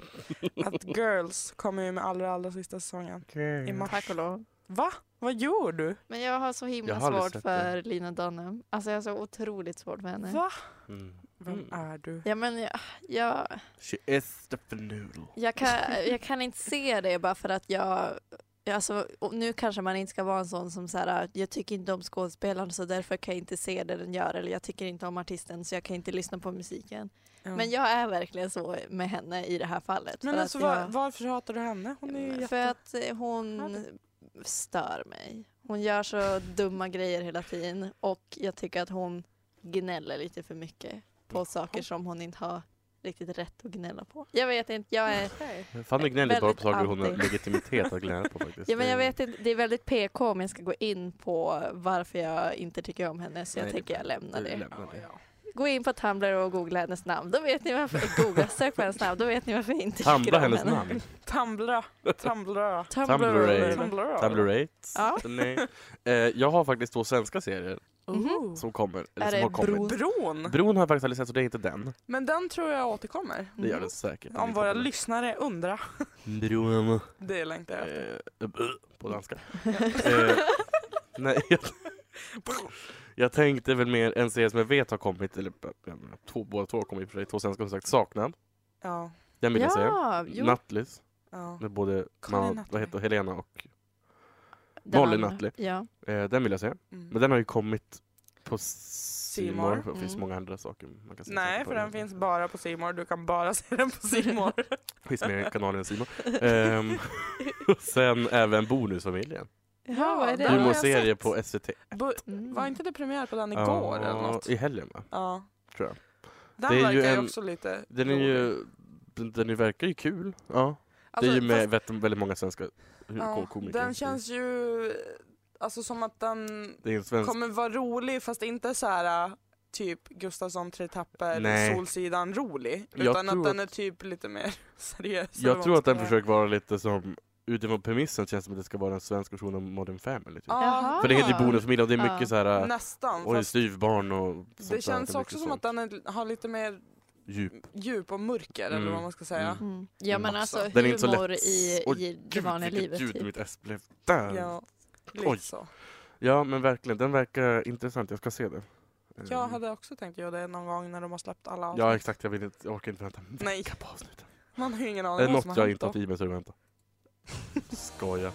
[SPEAKER 4] Att Girls kommer ju med allra, allra sista säsongen. I mars.
[SPEAKER 3] Tack och lov.
[SPEAKER 4] Va? Vad gör du?
[SPEAKER 3] Men jag har så himla
[SPEAKER 2] Jag har aldrig
[SPEAKER 3] svårt
[SPEAKER 2] sett
[SPEAKER 3] för Lina Dunham. Alltså jag har så otroligt svårt för henne.
[SPEAKER 4] Va?
[SPEAKER 2] Mm.
[SPEAKER 4] Vem är du?
[SPEAKER 3] Ja, men jag, jag,
[SPEAKER 2] She is the fanoodle.
[SPEAKER 3] jag, kan, jag kan inte se det bara för att jag... Alltså, och nu kanske man inte ska vara en sån som så här, "Ah, jag tycker inte om skådespelaren så därför kan jag inte se det den gör eller jag tycker inte om artisten så jag kan inte lyssna på musiken.
[SPEAKER 4] Ja.
[SPEAKER 3] Men jag är verkligen så med henne i det här fallet.
[SPEAKER 4] Mm. Men
[SPEAKER 3] för
[SPEAKER 4] alltså,
[SPEAKER 3] att
[SPEAKER 4] var,
[SPEAKER 3] jag-
[SPEAKER 4] varför hatar du henne? Hon är ju jätte...
[SPEAKER 3] För att eh, hon stör mig. Hon gör så dumma grejer hela tiden och jag tycker att hon gnäller lite för mycket på saker som hon inte har riktigt rätt att gnälla på. Jag vet inte, jag är...
[SPEAKER 4] Okej.
[SPEAKER 2] Fanny gnäller bara på
[SPEAKER 3] Väldigt
[SPEAKER 2] saker hon har
[SPEAKER 3] anti.
[SPEAKER 2] legitimitet att gnälla
[SPEAKER 3] [laughs]
[SPEAKER 2] på faktiskt.
[SPEAKER 3] Ja, men jag
[SPEAKER 2] Det-
[SPEAKER 3] vet inte, det är väldigt PK om jag ska gå in på varför jag inte tycker om henne så jag
[SPEAKER 2] Nej, det-
[SPEAKER 3] tänker jag lämnar
[SPEAKER 2] du
[SPEAKER 3] det.
[SPEAKER 2] lämnar
[SPEAKER 3] [laughs]
[SPEAKER 2] det.
[SPEAKER 3] Gå in på Tumblr och googla hennes namn, då vet ni varför, googla, sök på hennes namn, då vet ni varför jag inte tycker
[SPEAKER 2] Tumblr
[SPEAKER 3] om henne.
[SPEAKER 2] hennes namn.
[SPEAKER 4] Tumblra. Tumblra.
[SPEAKER 2] Tumblr.
[SPEAKER 3] Tumblr.
[SPEAKER 4] Tumblra.
[SPEAKER 2] Tumblrate.
[SPEAKER 3] Ja.
[SPEAKER 2] Nej. Eh, jag har faktiskt två svenska serier
[SPEAKER 3] Mhm.
[SPEAKER 2] som kommer. Eller
[SPEAKER 3] Är
[SPEAKER 2] som
[SPEAKER 3] det
[SPEAKER 2] har kommit.
[SPEAKER 3] Bro?
[SPEAKER 4] Bron.
[SPEAKER 2] Bron har jag faktiskt aldrig sett så det är inte den.
[SPEAKER 4] Men den tror jag återkommer.
[SPEAKER 2] Det gör
[SPEAKER 3] Mhm.
[SPEAKER 2] den säkert.
[SPEAKER 4] Om våra lyssnare undrar.
[SPEAKER 2] Bron.
[SPEAKER 4] Det längtar jag efter.
[SPEAKER 2] Eh, på
[SPEAKER 3] [laughs]
[SPEAKER 2] danska.
[SPEAKER 3] Mm.
[SPEAKER 2] eh, nej, jag, jag tänkte väl mer en serie som jag vet har kommit, eller jag menar, två, båda två har kommit i och för sig, två svenska som sagt, Saknad.
[SPEAKER 4] Ja.
[SPEAKER 2] Den vill jag säga.
[SPEAKER 3] Ja, jo,
[SPEAKER 2] Nattlis,
[SPEAKER 4] ja.
[SPEAKER 2] med både
[SPEAKER 4] Karin
[SPEAKER 2] man,
[SPEAKER 4] Attlee.
[SPEAKER 2] vad heter, Helena och...
[SPEAKER 3] den
[SPEAKER 2] Molly
[SPEAKER 3] andra.
[SPEAKER 2] Nutley.
[SPEAKER 3] Ja.
[SPEAKER 2] Eh, den vill jag säga.
[SPEAKER 4] Mm.
[SPEAKER 2] Men den har ju kommit på Simor. Det finns
[SPEAKER 3] Mm.
[SPEAKER 2] många andra saker man kan se.
[SPEAKER 4] Nej,
[SPEAKER 2] på
[SPEAKER 4] för den finns bara på Simor. Du kan bara [laughs] se den på Simor.
[SPEAKER 2] finns mer i kanalen än
[SPEAKER 4] [laughs]
[SPEAKER 2] Simor. Ehm, och sen även Bonusfamiljen.
[SPEAKER 3] Ja, vad är
[SPEAKER 4] Den har jag
[SPEAKER 3] det?
[SPEAKER 2] Humorserie
[SPEAKER 4] sett.
[SPEAKER 2] på SVT.
[SPEAKER 4] Bu-
[SPEAKER 3] Mm.
[SPEAKER 4] Var inte det premiär på den igår eller något?
[SPEAKER 2] I helgen va?
[SPEAKER 4] Ja.
[SPEAKER 2] Tror jag.
[SPEAKER 4] Den
[SPEAKER 2] Det är
[SPEAKER 4] verkar
[SPEAKER 2] ju
[SPEAKER 4] ju
[SPEAKER 2] en-
[SPEAKER 4] också lite
[SPEAKER 2] Den är
[SPEAKER 4] rolig.
[SPEAKER 2] ju, den, den verkar ju kul. Ja.
[SPEAKER 4] Alltså,
[SPEAKER 2] det är ju med
[SPEAKER 4] fast-
[SPEAKER 2] vet, väldigt många svenska hu-
[SPEAKER 4] ja,
[SPEAKER 2] komiker.
[SPEAKER 4] Den känns ju alltså som att den
[SPEAKER 2] Det är en svensk...
[SPEAKER 4] kommer vara rolig fast inte så här äh, typ Gustafsson Tre Tapper,
[SPEAKER 2] Nej.
[SPEAKER 4] Solsidan rolig.
[SPEAKER 2] Jag
[SPEAKER 4] Utan
[SPEAKER 2] tror
[SPEAKER 4] att den är typ lite mer [laughs] seriös. eller
[SPEAKER 2] Jag
[SPEAKER 4] vad
[SPEAKER 2] tror
[SPEAKER 4] man
[SPEAKER 2] att den
[SPEAKER 4] ska säga.
[SPEAKER 2] försöker vara lite som, utifrån premissen känns det som att det ska vara en svensk version av Modern Family. Typ.
[SPEAKER 4] Ja,
[SPEAKER 3] Jaha.
[SPEAKER 2] För det heter ju
[SPEAKER 3] Ah.
[SPEAKER 2] Bonusfamiljen och det är
[SPEAKER 3] Ah.
[SPEAKER 2] mycket så här, äh,
[SPEAKER 4] nästan.
[SPEAKER 2] oj
[SPEAKER 4] fast
[SPEAKER 2] styvbarn och sånt där.
[SPEAKER 4] det känns
[SPEAKER 2] är
[SPEAKER 4] också
[SPEAKER 2] mycket
[SPEAKER 4] som att
[SPEAKER 2] sånt.
[SPEAKER 4] den är, har lite mer
[SPEAKER 2] Djup.
[SPEAKER 4] djup och mörker eller
[SPEAKER 2] Mm.
[SPEAKER 4] vad man ska säga.
[SPEAKER 2] Mm.
[SPEAKER 3] Mm. Ja men
[SPEAKER 2] Massa.
[SPEAKER 3] alltså
[SPEAKER 2] Den är inte så
[SPEAKER 3] humor
[SPEAKER 2] lätt.
[SPEAKER 3] i,
[SPEAKER 2] Oj,
[SPEAKER 3] i det
[SPEAKER 2] Gud
[SPEAKER 3] vanliga
[SPEAKER 4] typ.
[SPEAKER 2] vilket
[SPEAKER 3] livet.
[SPEAKER 2] ljud
[SPEAKER 3] Typ.
[SPEAKER 2] mitt S blev där!
[SPEAKER 4] Ja, lite
[SPEAKER 2] Mm. Oj.
[SPEAKER 4] så.
[SPEAKER 2] Ja, men verkligen. Den verkar intressant. Jag ska se den.
[SPEAKER 4] Jag
[SPEAKER 2] Ehm,
[SPEAKER 4] hade också tänkt göra det någon gång när de har släppt alla avsnitt.
[SPEAKER 2] Ja, exakt. Jag, vill inte, jag orkar inte vänta en
[SPEAKER 4] Nej.
[SPEAKER 2] vecka på avsnitten.
[SPEAKER 4] Man har ju ingen
[SPEAKER 2] Är
[SPEAKER 4] aning
[SPEAKER 2] det
[SPEAKER 4] vad som
[SPEAKER 2] något
[SPEAKER 4] har
[SPEAKER 2] jag
[SPEAKER 4] hänt
[SPEAKER 2] inte
[SPEAKER 4] då.
[SPEAKER 2] haft i mig så är det vänta.
[SPEAKER 4] [laughs]
[SPEAKER 2] Skoja.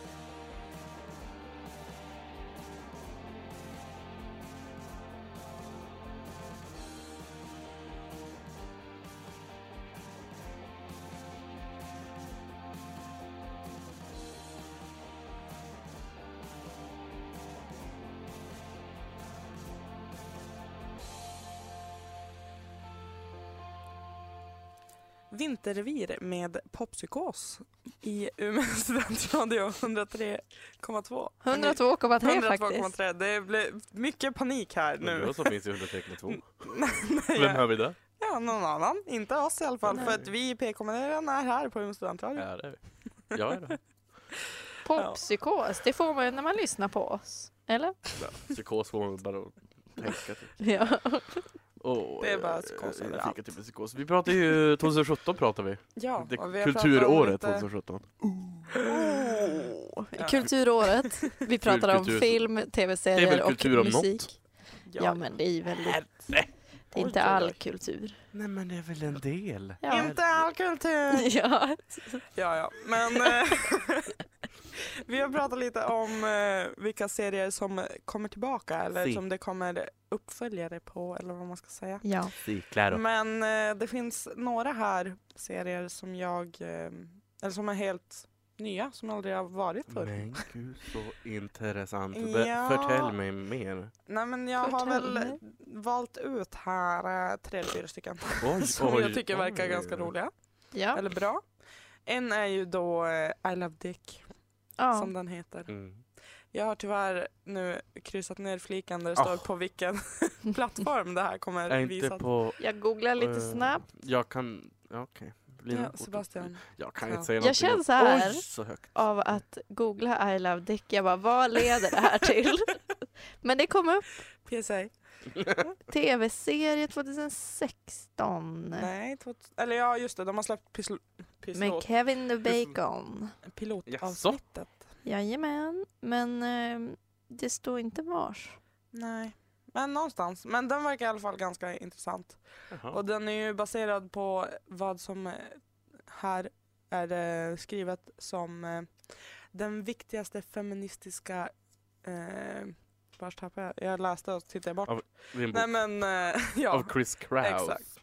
[SPEAKER 4] Vinterrevir med Popsykos i Umeå [laughs] studentradio 103,2.
[SPEAKER 3] 102,3 faktiskt.
[SPEAKER 4] 102,3. Det blev mycket panik här [laughs]
[SPEAKER 2] Men
[SPEAKER 4] nu.
[SPEAKER 2] då så finns ju
[SPEAKER 4] [laughs]
[SPEAKER 2] 103,2. Vem
[SPEAKER 4] Ja,
[SPEAKER 2] hör vi där?
[SPEAKER 4] ja, någon annan. Inte oss i alla fall.
[SPEAKER 2] Nej.
[SPEAKER 4] För att vi i PK-medierna är här på Umeå studentradio.
[SPEAKER 2] Ja, det är vi. Jag är det.
[SPEAKER 3] Poppsykos, det får man ju när man lyssnar på oss. Eller?
[SPEAKER 2] Ja, Psykos får man bara tänka typ. till.
[SPEAKER 3] Ja.
[SPEAKER 2] Åh,
[SPEAKER 4] Det är bara
[SPEAKER 2] eh,
[SPEAKER 4] psykos
[SPEAKER 2] jag fick
[SPEAKER 4] överallt.
[SPEAKER 2] ett typ av psykos. Vi pratar ju 2017 pratar vi.
[SPEAKER 4] Ja,
[SPEAKER 2] Det,
[SPEAKER 4] och vi har pratat om
[SPEAKER 2] kulturåret
[SPEAKER 4] lite-
[SPEAKER 2] 2017.
[SPEAKER 3] Oh.
[SPEAKER 4] Ja.
[SPEAKER 3] Kulturåret. Vi pratar om
[SPEAKER 2] Kultur-
[SPEAKER 3] film,
[SPEAKER 2] Det är väl
[SPEAKER 3] tv-serier
[SPEAKER 2] kultur om
[SPEAKER 3] och musik.
[SPEAKER 4] Ja.
[SPEAKER 3] Ja men det är ju väldigt, det är
[SPEAKER 4] Oj, oj,
[SPEAKER 3] inte all
[SPEAKER 4] oj.
[SPEAKER 3] kultur.
[SPEAKER 2] Nej men det är väl en del.
[SPEAKER 3] Ja.
[SPEAKER 4] Inte all kultur!
[SPEAKER 3] [laughs] Ja.
[SPEAKER 4] Ja, ja. Men eh, [laughs] vi har pratat lite om eh, vilka serier som kommer tillbaka eller
[SPEAKER 2] Si.
[SPEAKER 4] som det kommer uppföljare på eller vad man ska säga.
[SPEAKER 3] ja.
[SPEAKER 2] Si, claro.
[SPEAKER 4] Men eh, det finns några här serier som jag, eh, eller som är helt nya, som aldrig har varit förr.
[SPEAKER 2] Men gud så intressant. Be-
[SPEAKER 4] Mm. Ja.
[SPEAKER 2] Förtäll mig mer.
[SPEAKER 4] Nej men jag har
[SPEAKER 3] Förtell
[SPEAKER 4] väl
[SPEAKER 3] mig.
[SPEAKER 4] valt ut här eh, tre eller fyra stycken
[SPEAKER 2] Oj,
[SPEAKER 4] [laughs] som jag tycker verkar ganska roliga,
[SPEAKER 3] ja.
[SPEAKER 4] eller bra. En är ju då eh, I Love Dick,
[SPEAKER 3] ja.
[SPEAKER 4] som den heter.
[SPEAKER 2] Mm.
[SPEAKER 4] Jag har tyvärr nu kryssat ner flikan där det står
[SPEAKER 2] Ah.
[SPEAKER 4] på vilken [laughs] plattform det här kommer
[SPEAKER 2] Är inte
[SPEAKER 4] visas.
[SPEAKER 2] på...
[SPEAKER 3] Jag googlar lite
[SPEAKER 2] eh,
[SPEAKER 3] snabbt.
[SPEAKER 2] Jag kan... Ja, okej. Lina
[SPEAKER 4] Ja,
[SPEAKER 2] Ortens-
[SPEAKER 4] Sebastian.
[SPEAKER 2] Jag kan
[SPEAKER 4] Ja.
[SPEAKER 2] inte säga
[SPEAKER 3] Jag
[SPEAKER 2] någonting.
[SPEAKER 3] känner så här.
[SPEAKER 2] Oj, så
[SPEAKER 4] [laughs]
[SPEAKER 2] högt.
[SPEAKER 3] Av att googla I love dick. Jag bara, vad leder det här [laughs] till? men det kom upp.
[SPEAKER 4] PSA.
[SPEAKER 3] Tv-serie 2016.
[SPEAKER 4] Nej, två, eller ja just det, de har släppt pis,
[SPEAKER 3] Med Kevin the Bacon.
[SPEAKER 4] pilotavsnittet.
[SPEAKER 3] Jajamän. Men eh, det står inte vars.
[SPEAKER 4] Nej, men någonstans. Men den verkar i alla fall ganska intressant.
[SPEAKER 2] Jaha.
[SPEAKER 4] Och den är ju baserad på vad som eh, här är det skrivet som eh, den viktigaste feministiska... Eh, vars tappade jag? Jag läste och tittade bort.
[SPEAKER 2] Av- Det är en bok.
[SPEAKER 4] Nej men eh, [laughs] ja,
[SPEAKER 2] Av Chris Kraus.
[SPEAKER 4] exakt.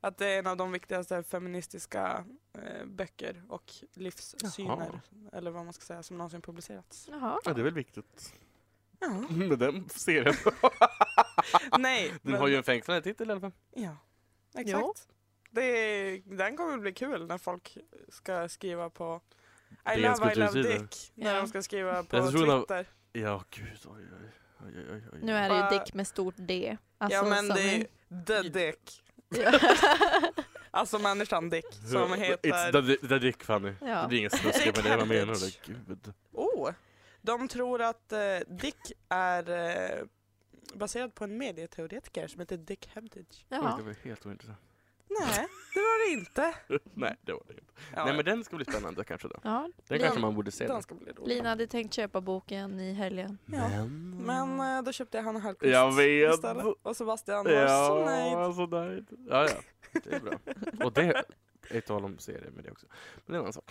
[SPEAKER 4] att det är en av de viktigaste feministiska eh, böcker och livssyner, eller vad man ska säga, som någonsin publicerats.
[SPEAKER 3] Jaha.
[SPEAKER 2] Ja, det är väl viktigt. [laughs]
[SPEAKER 4] Ja.
[SPEAKER 2] Med den serien.
[SPEAKER 4] [laughs] Nej,
[SPEAKER 2] Den
[SPEAKER 4] men-
[SPEAKER 2] har ju en fängslande titel i alla fall.
[SPEAKER 4] Ja,
[SPEAKER 3] Ja.
[SPEAKER 4] exakt. Det är, den kommer bli kul när folk ska skriva på I
[SPEAKER 2] DNs
[SPEAKER 4] love, I love
[SPEAKER 2] kultursidor.
[SPEAKER 4] dick. När
[SPEAKER 3] Ja.
[SPEAKER 4] de ska skriva på
[SPEAKER 2] Recension av-
[SPEAKER 4] Twitter.
[SPEAKER 2] Ja, gud. Oj, oj, oj, oj, oj, oj.
[SPEAKER 3] Nu är det ju
[SPEAKER 4] Bara-
[SPEAKER 3] dick med stort D. Alltså,
[SPEAKER 4] ja men
[SPEAKER 3] som
[SPEAKER 4] det är
[SPEAKER 3] [laughs] en-
[SPEAKER 4] ju the dick. Alltså människan dick som
[SPEAKER 2] It's
[SPEAKER 4] heter...
[SPEAKER 2] the, di- the Dick Fanny.
[SPEAKER 3] Ja.
[SPEAKER 2] Det blir ingen snuskig men det är vad jag
[SPEAKER 3] [laughs]
[SPEAKER 4] Dick.
[SPEAKER 2] menar du? Gud.
[SPEAKER 4] Oh, de tror att eh, Dick är eh, baserad på en medieteoretiker som heter Dick Hebdige.
[SPEAKER 2] Oj,
[SPEAKER 3] Jaha.
[SPEAKER 2] det var helt ointressant. [laughs]
[SPEAKER 4] Nej, [laughs] det var det inte.
[SPEAKER 2] Nej, det var det inte.
[SPEAKER 4] Ja,
[SPEAKER 2] Nej men den ska bli spännande kanske då.
[SPEAKER 3] Ja.
[SPEAKER 2] Den
[SPEAKER 3] Lina-
[SPEAKER 2] kanske man borde se.
[SPEAKER 4] den
[SPEAKER 2] Då.
[SPEAKER 4] ska bli rolig.
[SPEAKER 3] Lina hade tänkt köpa boken i helgen.
[SPEAKER 4] Ja.
[SPEAKER 2] Men...
[SPEAKER 4] Men eh, då köpte jag Hanna Hellquist
[SPEAKER 2] Jag vet.
[SPEAKER 4] istället. Och Sebastian var
[SPEAKER 2] Ja, alltså,
[SPEAKER 4] så nöjd.
[SPEAKER 2] så nöjd. Ja, ja. Det är bra. Och det är tal om serier med det också. Men det är en annan sak.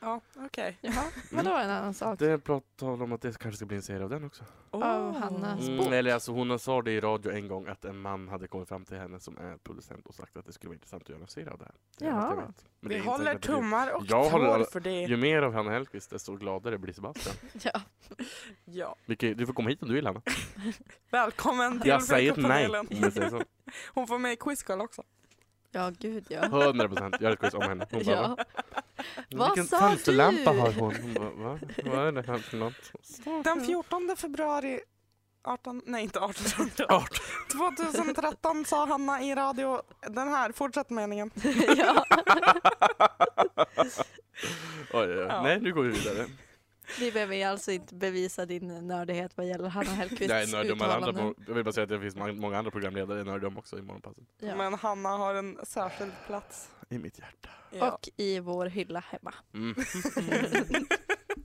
[SPEAKER 4] Ja, okej.
[SPEAKER 3] Jaha. Vadå en annan sak?
[SPEAKER 2] Mm. Det är prat- tal om att det kanske ska bli en serie av den också.
[SPEAKER 3] Av Hanna. Hans
[SPEAKER 2] Mm,
[SPEAKER 3] bok.
[SPEAKER 2] eller alltså hon sa det i radio en gång att en man hade kommit fram till henne som är producent och sagt att det skulle vara intressant att göra en serie av det här. Det är
[SPEAKER 3] Ja.
[SPEAKER 2] allt jag vet. Men det är
[SPEAKER 4] Vi
[SPEAKER 2] inte
[SPEAKER 4] håller
[SPEAKER 2] säkert att det blir-
[SPEAKER 4] tummar och
[SPEAKER 2] Jag håller alla-
[SPEAKER 4] tår för det.
[SPEAKER 2] Ju mer av Hanna Hellquist desto gladare blir Sebastian.
[SPEAKER 3] Ja.
[SPEAKER 4] Ja.
[SPEAKER 2] Vilket, du får komma hit om du
[SPEAKER 3] [laughs]
[SPEAKER 2] vill Hanna.
[SPEAKER 4] Välkommen till
[SPEAKER 2] Jag säger ett nej.
[SPEAKER 4] veckopanelen.
[SPEAKER 2] om jag säger så.
[SPEAKER 4] Hon får med i Quizcall också.
[SPEAKER 3] ja, gud ja.
[SPEAKER 2] 100 procent. Jag har ett quiz om henne. Hon bara,
[SPEAKER 3] ja. [laughs]
[SPEAKER 2] va?
[SPEAKER 3] Vad
[SPEAKER 2] Vilken
[SPEAKER 3] sa
[SPEAKER 2] fönsterlampa
[SPEAKER 3] du?
[SPEAKER 2] har hon? hon bara, va? Vad är det här för
[SPEAKER 3] [laughs]
[SPEAKER 2] något?
[SPEAKER 4] Den 14 februari 18, nej inte 18,
[SPEAKER 2] [laughs] 18.
[SPEAKER 4] 2013 sa Hanna i radio den här, fortsätt meningen.
[SPEAKER 3] [laughs] ja.
[SPEAKER 2] Oj, oj, oj.
[SPEAKER 4] Ja.
[SPEAKER 2] Nej, nu går vi vidare.
[SPEAKER 3] Vi behöver alltså inte bevisa din nördighet vad gäller Hanna
[SPEAKER 2] Jag är
[SPEAKER 3] Hellquists
[SPEAKER 2] nördig om alla andra.
[SPEAKER 3] uttalanden.
[SPEAKER 2] pro- Jag vill bara säga att det finns ma- många andra programledare jag är nördig om också i morgonpasset.
[SPEAKER 3] Ja.
[SPEAKER 4] Men Hanna har en särskild plats.
[SPEAKER 2] I mitt hjärta.
[SPEAKER 4] Ja.
[SPEAKER 3] Och i vår hylla hemma.
[SPEAKER 2] Mm.